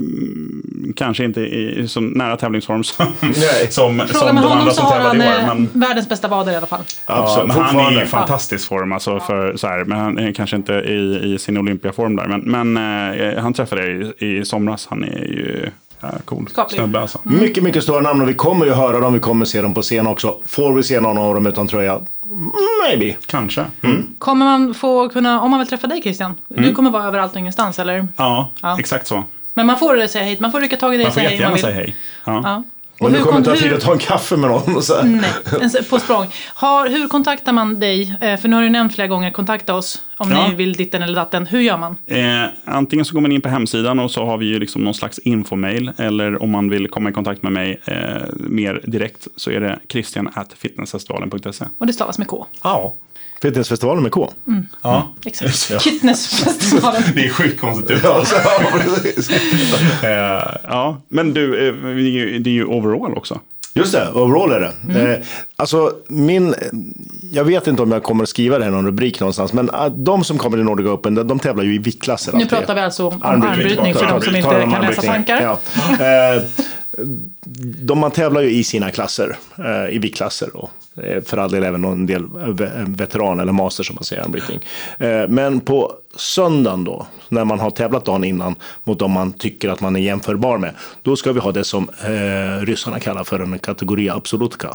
kanske inte i så nära tävlingsform som, Nej. som, Frågar som man de honom andra så som har tävlade han i år. eh, Men, världens bästa vader i alla fall. Absolut, men han är i fortfarande. fantastisk form, alltså för, så här, men han är kanske inte i, i sin olympiaform där. Men, men eh, han träffade jag i, i somras, han är ju ja, cool Skaplig. Mm. snubbe alltså. Mm. Mycket, mycket stora namn och vi kommer ju höra dem, vi kommer se dem på scen också. Får vi se någon av dem utan tröja? Maybe. Kanske. Mm. Kommer man få kunna, om man vill träffa dig Christian, du kommer vara överallt och ingenstans eller? Ja, Ja. exakt så. Men man får säga hej, man får rycka tag i dig Man och får säga hej om jättegärna man säga vill. hej. Ja. Ja. Men det hur Mm. kommer kon- ta tid hur- att ta en kaffe med någon. Så. här. Nej, ens på språng. Har, hur kontaktar man dig? Eh, För nu har du nämnt flera gånger, kontakta oss om Ja. ni vill ditten eller datten. Hur gör man? Eh, antingen så går man in på hemsidan och så har vi ju liksom någon slags infomail. Eller om man vill komma i kontakt med mig eh, mer direkt så är det christian.fitnessfestivalen.se. Och det stavas med K. Ja. Fitnessfestivalen med K. Mm. ja. Exakt. Fitnessfestivalen. Det är skitkonstigt ut. (laughs) Ja, så, ja, precis. Eh, ja. Men du, eh, vi är ju- det är ju overall också. Just det, overall är det. Mm. Eh, alltså min, eh, jag vet inte om jag kommer att skriva det här i någon rubrik någonstans, men eh, de som kommer till Nordic Open, de, de tävlar ju i viktklasser. Nu alltid. pratar vi alltså om Armbrytning. armbrytning för de som inte Talar om kan läsa armbrytning. tankar. Mm. Ja. Eh, de, man tävlar ju i sina klasser, eh, i viktklasser och eh, för all del även någon del eh, ve- veteran eller master som man säger i armbrytning. Eh, men på söndagen då, när man har tävlat dagen innan mot de man tycker att man är jämförbar med, då ska vi ha det som eh, ryssarna kallar för en kategori absolutka.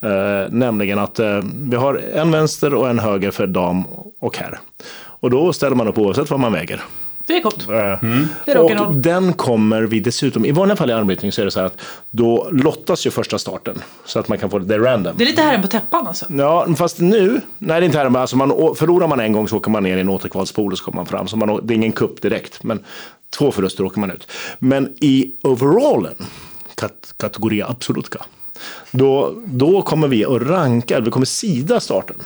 Eh, nämligen att eh, vi har en vänster och en höger för dam och herr. Och då ställer man upp oavsett vad man väger. Det är coolt. Eh, Det är och rock'n'roll. den kommer vi dessutom, i vanliga fall i armbrytning så är det så här att då lottas ju första starten så att man kan få det, det är random. Det är lite herren på täppan alltså. Ja, fast nu, nej det är inte här, men alltså man, å- förlorar man en gång så åker man ner i en återkvalspool och så kommer man fram. Så man, å- det är ingen kupp direkt, men två förluster åker man ut. Men i overallen, kat, kategori absolutka, då, då kommer vi att ranka, vi kommer sida starten.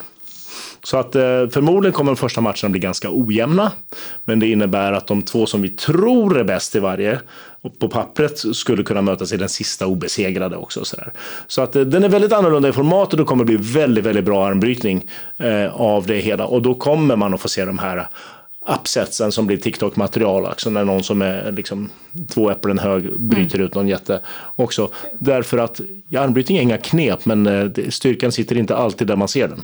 Så att eh, förmodligen kommer de första matcherna bli ganska ojämna. Men det innebär att de två som vi tror är bäst i varje och på pappret skulle kunna mötas i den sista obesegrade också. Och så där. så att eh, den är väldigt annorlunda i formatet och det kommer bli väldigt, väldigt bra armbrytning eh, av det hela. Och då kommer man att få se de här uppsetsen som blir TikTok-material, alltså när någon som är liksom två äpplen hög bryter ut någon jätte också. Därför att ja, armbrytning är inga knep, men eh, det- styrkan sitter inte alltid där man ser den.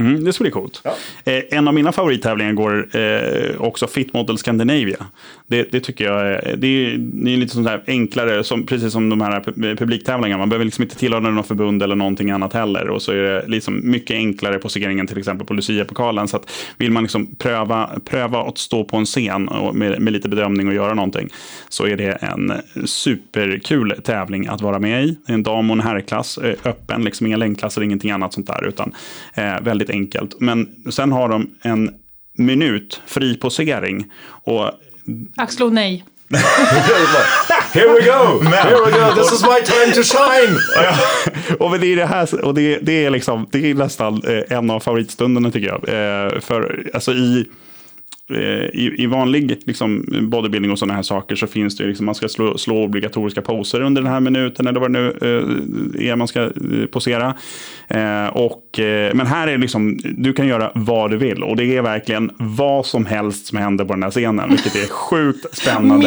Mm, det skulle bli coolt. Eh, en av mina favorittävlingar går eh, också Fit Model Scandinavia. Det, det tycker jag är, det är, det är lite sånt där enklare, som, precis som de här pu- publiktävlingarna. Man behöver liksom inte tillhöra något förbund eller någonting annat heller. Och så är det liksom mycket enklare poseringen till exempel på Lucia-pokalen. Så att vill man liksom pröva, pröva att stå på en scen och med, med lite bedömning och göra någonting så är det en superkul tävling att vara med i. En dam och en herrklass, eh, öppen, liksom inga längdklasser, ingenting annat sånt där, utan eh, väldigt enkelt. Men sen har de en minut fri posering och Axlo, nej. Here we go! Here we go! This is my time to shine! och det är, det här, och det, det är, liksom, det är nästan eh, en av favoritstunderna tycker jag. Eh, För alltså i, eh, i, i vanlig liksom, bodybuilding och sådana här saker så finns det ju liksom, man ska slå, slå obligatoriska poser under den här minuten eller vad det nu eh, är man ska eh, posera. Eh, Och, eh, men här är det liksom, du kan göra vad du vill och det är verkligen vad som helst som händer på den här scenen, vilket är sjukt spännande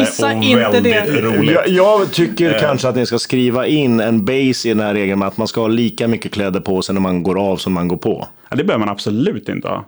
(laughs) Missa och inte väldigt det. roligt. Jag, jag tycker kanske att ni ska skriva in en base i den här regeln med att man ska ha lika mycket kläder på sig när man går av som man går på. Ja, det behöver man absolut inte ha.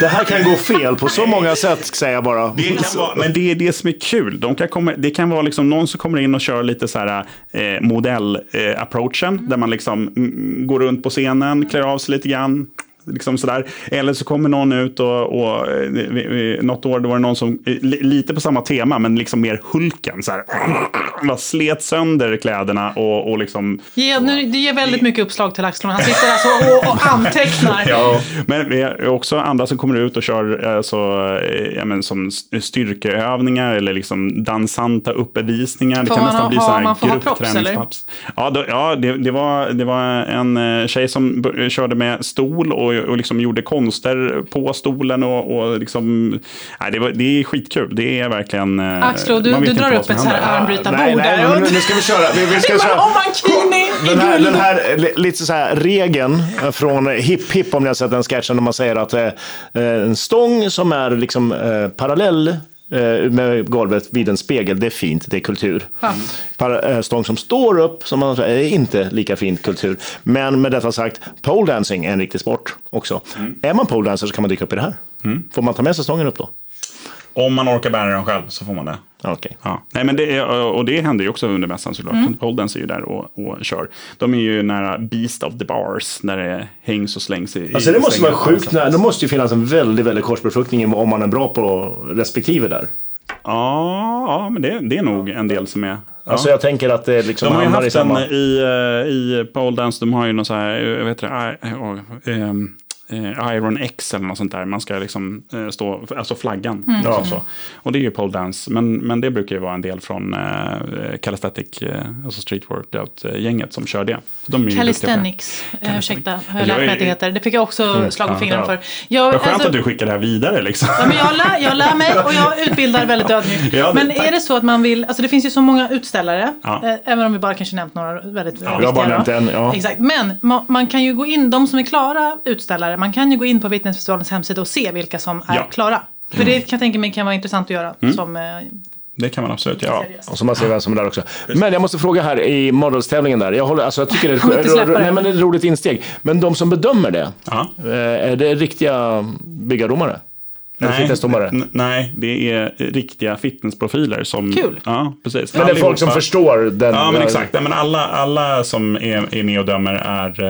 Det här kan gå fel på så många sätt, säger jag bara. Det kan vara, Alltså, men det är det som är kul. De kan komma, det kan vara liksom någon som kommer in och kör lite så här eh, modell-approachen. Där man liksom mm, går runt på scenen, klär av sig lite grann. Liksom sådär. Eller så kommer någon ut och, och eh, vi, vi, något år då var det någon som, eh, li, lite på samma tema, men liksom mer Hulken. Så här, (clears throat) bara slet sönder kläderna och, och liksom... Ge, nu, det ger väldigt mycket uppslag till Axlund. Han sitter alltså och, och antecknar. (laughs) Ja. Men vi har också andra som kommer ut och kör eh, så, eh, ja, men som st- styrkeövningar eller liksom dansanta uppvisningar. Det Får kan man nästan ha- bli så man får ha här props, eller? gruppträningspaps. Ja, då, ja det, det, var, det var en eh, tjej som b- körde med stol och, och liksom gjorde konster på stolen. Och, och liksom, nej, det, var, det är skitkul. Det är verkligen... eh, Axlo, du, man vet du inte drar vad upp som ett så händer. här armbrytarbord nej, nej, där. nu, nu ska vi köra. Vi, vi (laughs) ska köra. Oh, mankini i Den här, guld. den här li- lite så här regeln eh, från Hipp Hipp, om ni har sett den sketchen, där man säger att eh, eh, en stång som är liksom eh, parallell eh, med golvet vid en spegel, det är fint, det är kultur. Ja. Par, eh, stång som står upp, som man säger, är inte lika fint kultur. Men med detta sagt, pole dancing är en riktig sport också. Är man pole dancer så kan man dyka upp i det här. Får man ta med sig stången upp då? Om man orkar bära den själv så får man det. Okej. Ja. Nej, men det, är- och det händer ju också under mässan såklart. Holdens är ju där och, och kör. De är ju nära Beast of the Bars, när det hängs och slängs i... Alltså i det måste sängar vara och sjukt, dansar. när, det måste ju finnas en väldigt, väldigt korsbefruktning i om man är bra på respektive där. Ja, ja men det, det är nog en del som är... Ja. Alltså jag tänker att det liksom de har ju hamnar i haft en samma... i, eh, i pole dance, de har ju någon så här, eh, vad heter det, I- åh, ehm, eh, Iron X eller något sånt där. Man ska liksom eh, stå, alltså flaggan. Mm. Liksom så. Och det är ju pole dance, men, men det brukar ju vara en del från eh, calisthenic, eh, alltså street workout-gänget som kör det. De är ju duktiga på det. Calisthenics. Eh, ursäkta, har jag Jag lärt mig är- att det heter. Det fick jag också slag på fingrarna ja. för. Jag, Vad skönt alltså- att du skickar det här vidare liksom. Ja, men jag, lär, jag lär mig och jag utbildar väldigt ödmjukt. Ja, det- men är tack. det så att man vill, alltså det finns ju så många utställare, Ja. eh, även om vi bara kanske nämnt några väldigt ja, jag har bara nämnt en, ja. Exakt. Men ma- man kan ju gå in, de som är klara utställare, man kan ju gå in på Vittnesfestivalens hemsida och se vilka som är Ja. Mm. klara. För det kan jag tänka mig kan vara intressant att göra som eh, Det kan man absolut göra. seriös. Och så man ser vem som är där också. Men jag måste fråga här i Models-tävlingen där. Jag, håller, alltså jag tycker det kommer är, inte ett, ro, släppa ro, det. nej, men det är ett roligt insteg. Men de som bedömer det, Ja. eh, är det riktiga byggardomare? Eller fitnessdomare? n- nej, det är riktiga fitnessprofiler som... Kul. Ja, precis. Men det är folk som Allihopa. förstår den... Ja, men exakt. Nej, men alla, alla som är, är med och dömer är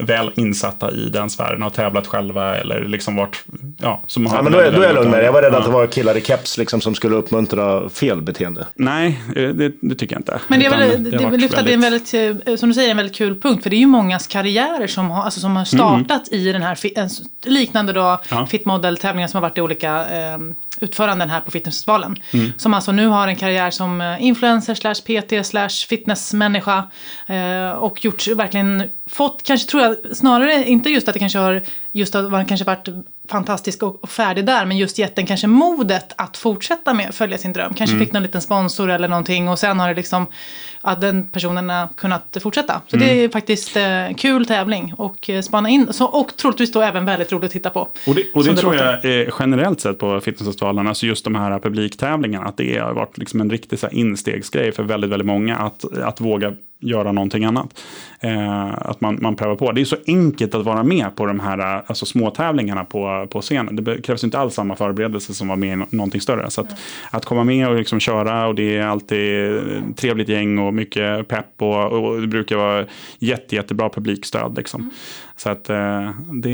eh, väl insatta i den sfären, har tävlat själva eller liksom varit... Ja, som har Ja, men då är, då är jag den- lugn med det. Jag var rädd Ja. att det var killar i keps liksom, som skulle uppmuntra fel beteende. Nej, eh, det, det tycker jag inte. Men det är Utan väl, det, har det varit lyfter att det är en väldigt, eh, som du säger, en väldigt kul punkt. För det är ju mångas karriärer som har, alltså, som har startat i den här, fi- en s- liknande då, Mm. Ja. fitmodel-tävlingar som har varit i olika eh, utföranden här på Fitnessfestivalen. Som alltså nu har en karriär som eh, influencer slash PT slash fitnessmänniska. Eh, och gjort, verkligen fått, kanske tror jag, snarare inte just att det kanske har, just att man kanske varit fantastisk och, och färdig där, men just gett den kanske modet att fortsätta med, följa sin dröm. Kanske fick någon liten sponsor eller någonting och sen har det liksom, att den personen har kunnat fortsätta. Så det är faktiskt eh, kul tävling och eh, spana in, så, och troligtvis då även väldigt roligt att titta på. Och det, Som och det det tror låter. jag eh, generellt sett på fitnessfestivalen, alltså just de här publiktävlingarna, att det har varit liksom en riktig så här instegsgrej för väldigt, väldigt många att, att våga göra någonting annat. Eh, att man, man prövar på. Det är så enkelt att vara med på de här eh, alltså småtävlingarna på, på scenen. Det be- krävs inte alls samma förberedelse som var med i nå- någonting större. Så att, att komma med och liksom köra och det är alltid eh, trevligt gäng och mycket pepp och, och det brukar vara jätte, jättebra publikstöd. Liksom. Mm. Så att eh, det,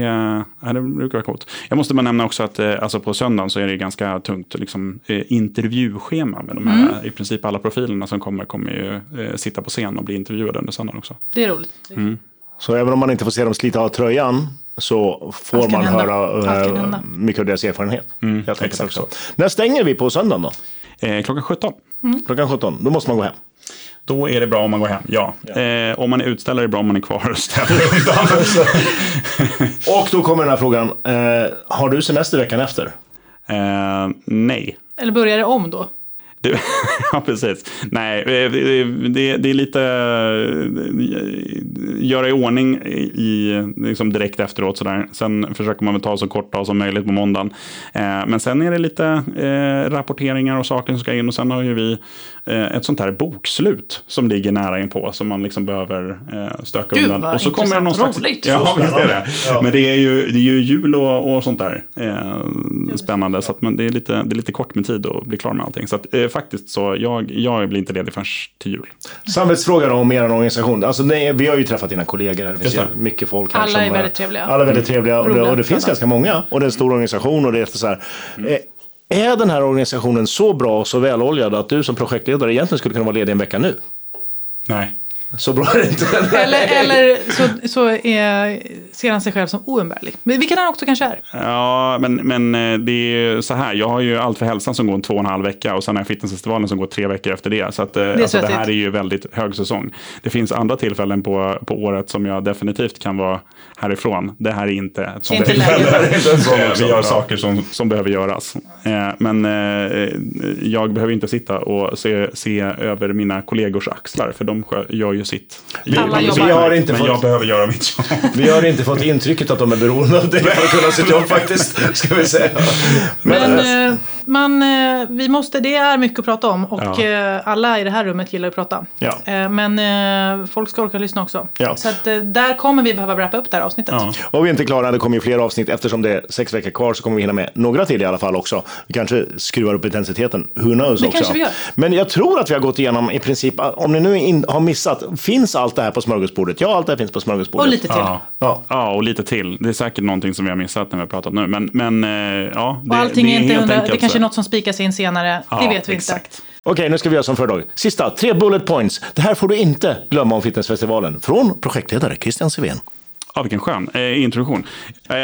ja, det brukar vara coolt. Jag måste bara nämna också att eh, alltså på söndagen så är det ganska tungt liksom, eh, intervjuschema med de här, i princip alla profilerna som kommer kommer ju eh, sitta på scen och bli intervjuade under söndagen också. Det är roligt. Mm. Så även om man inte får se dem slita av tröjan så får Allt kan man hända. höra Allt eh, kan hända. mycket av deras erfarenhet. helt enkelt Mm, exakt också. När stänger vi på söndagen då? Eh, klockan 17. Klockan 17, då måste man gå hem. Då är det bra om man går hem, ja. Eh, om man är utställare är det bra om man är kvar och ställer undan. Och då kommer den här frågan, eh, har du semester veckan efter? eh, nej. Eller börjar det om då? Du, (laughs) ja, precis. Nej, eh, det, det, det är lite eh, göra i ordning i, liksom direkt efteråt. Sådär. Sen försöker man väl ta så kort dag som möjligt på måndagen. Eh, men sen är det lite eh, rapporteringar och saker som ska in. Och sen har ju vi eh, ett sånt här bokslut som ligger nära inpå som man liksom behöver eh, stöka Gud, undan. vad Och så kommer det någon intressant. slags... Roligt. Ja, Så visst är spännande. det. Men det är ju, det är ju jul och, och sånt där. Eh, spännande. Så att, men det, är lite, det är lite kort med tid att bli klar med allting. Så att, eh, faktiskt så jag, jag blir inte ledig förrän till jul. Samvetsfrågan om er organisation. Alltså, nej, vi har ju träffat dina kollegor. Det finns Just ju det. mycket folk här. Alla som, är väldigt eh, trevliga. Alla är väldigt trevliga. Och det, Roliga och det finns träffar. ganska många. Och det är en stor organisation. Och det är så här, eh, Är den här organisationen så bra och så väloljad att du som projektledare egentligen skulle kunna vara ledig en vecka nu? Nej. Så bra är det inte. (laughs) Eller, eller så, så är, ser han sig själv som oumbärlig. Men Vilket han också kanske är. Ja, men, men eh, det är ju så här. Jag har ju Allt för hälsan som går en två och en halv vecka och sen har jag Fitnessfestivalen som går tre veckor efter det. Så att, det, är alltså, det svettigt. här är ju väldigt hög säsong. Det finns andra tillfällen på, på året som jag definitivt kan vara härifrån. Det här är inte ett sånt inte tillfälle. (laughs) läge. Eh, Vi gör saker som, som behöver göras. Eh, Men eh, jag behöver inte sitta och se, se över mina kollegors axlar, för de skö- gör ju sitt. liksom- Vi, Alla vi, jobbar. har inte Men jag fått, behöver göra mitt jobb. vi har inte fått intrycket att de är beroende av dig för att kunna sitt jobb faktiskt. Ska vi säga. Men, Men eh, eh, man, eh, vi måste, det är mycket att prata om och Ja. eh, alla i det här rummet gillar att prata. Ja. Eh, Men eh, folk ska orka lyssna också. Ja. Så att, eh, där kommer vi behöva wrappa upp det här avsnittet. Ja. Och vi är inte klara, det kommer ju fler avsnitt. Eftersom det är sex veckor kvar så kommer vi hinna med några till i alla fall också. Vi kanske skruvar upp intensiteten, who knows Det också. kanske vi gör. Men jag tror att vi har gått igenom i princip, om ni nu in, har missat, finns allt det här på smörgåsbordet? Ja, allt det här finns på smörgåsbordet. Och lite till. Ja. Ja. Ja. och lite till. Det är säkert någonting som vi har missat när vi har pratat nu. Men, men eh, ja, det, Och allting är det inte helt hundra, enkelt det kanske så. är något som spikas in senare. det Ja, vet vi exakt. Okej, nu ska vi göra som förra dagen. Sista, tre bullet points. Det här får du inte glömma om fitnessfestivalen. Från projektledare Christian Sivén. Ja, vilken skön eh, introduktion. Eh,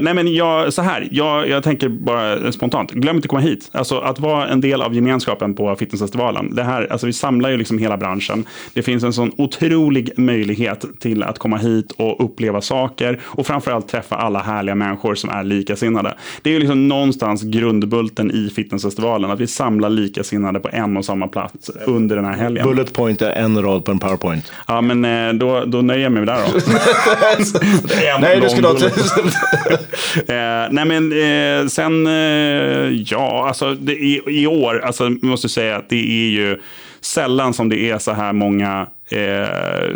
nej, men jag, så här, jag, jag tänker bara spontant, glöm inte att komma hit. Alltså att vara en del av gemenskapen på fitnessfestivalen. Det här, alltså vi samlar ju liksom hela branschen. Det finns en sån otrolig möjlighet till att komma hit och uppleva saker och framförallt träffa alla härliga människor som är likasinnade. Det är ju liksom någonstans grundbulten i fitnessfestivalen, att vi samlar likasinnade på en och samma plats under den här helgen. Bullet point är en rad på en powerpoint. Ja, men eh, då, då nöjer jag mig med det (laughs) här då. Det är en Nej, du lång skulle ha... bullet (laughs) Eh, nej men eh, sen, eh, ja, alltså det, i, i år, alltså vi måste säga att det är ju sällan som det är så här många eh,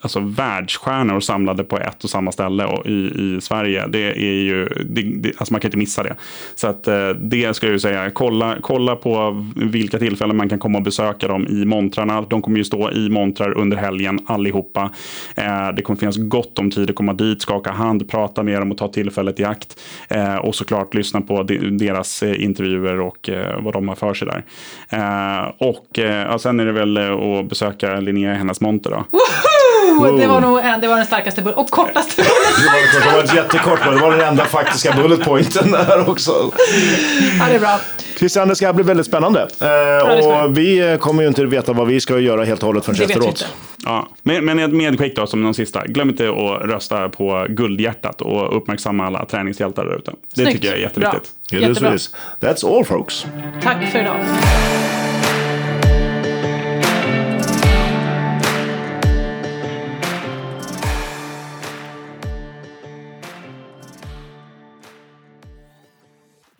alltså världsstjärnor samlade på ett och samma ställe och i, i Sverige. Det är ju, det, det, alltså man kan inte missa det. Så att eh, det ska jag ju säga, kolla, kolla på vilka tillfällen man kan komma och besöka dem i montrarna. De kommer ju stå i montrar under helgen allihopa. Eh, det kommer finnas gott om tid att komma dit, skaka hand, prata med dem och ta tillfället i akt. Eh, och såklart lyssna på de, deras eh, intervjuer och eh, vad de har för sig där. Eh, och eh, ja, sen är det väl eh, att besöka Linnea i hennes monter då. inte. Det var nog en, det var den starkaste bullet och kortaste (laughs) bullet. Det var ett jättekort, men det var den enda faktiska bullet pointen här också. Ja, det är bra. Christian, det ska bli väldigt spännande. Eh, spännande. och vi eh, kommer ju inte veta vad vi ska göra helt och hållet förrän Det vet vi inte. efteråt. Ja, men, men ett medskick då som den sista. Glöm inte att rösta på guldhjärtat och uppmärksamma alla träningshjältar där ute. Det Snyggt. tycker jag är jätteviktigt. Bra. It is, it Jättebra. is. That's all folks. Tack för idag.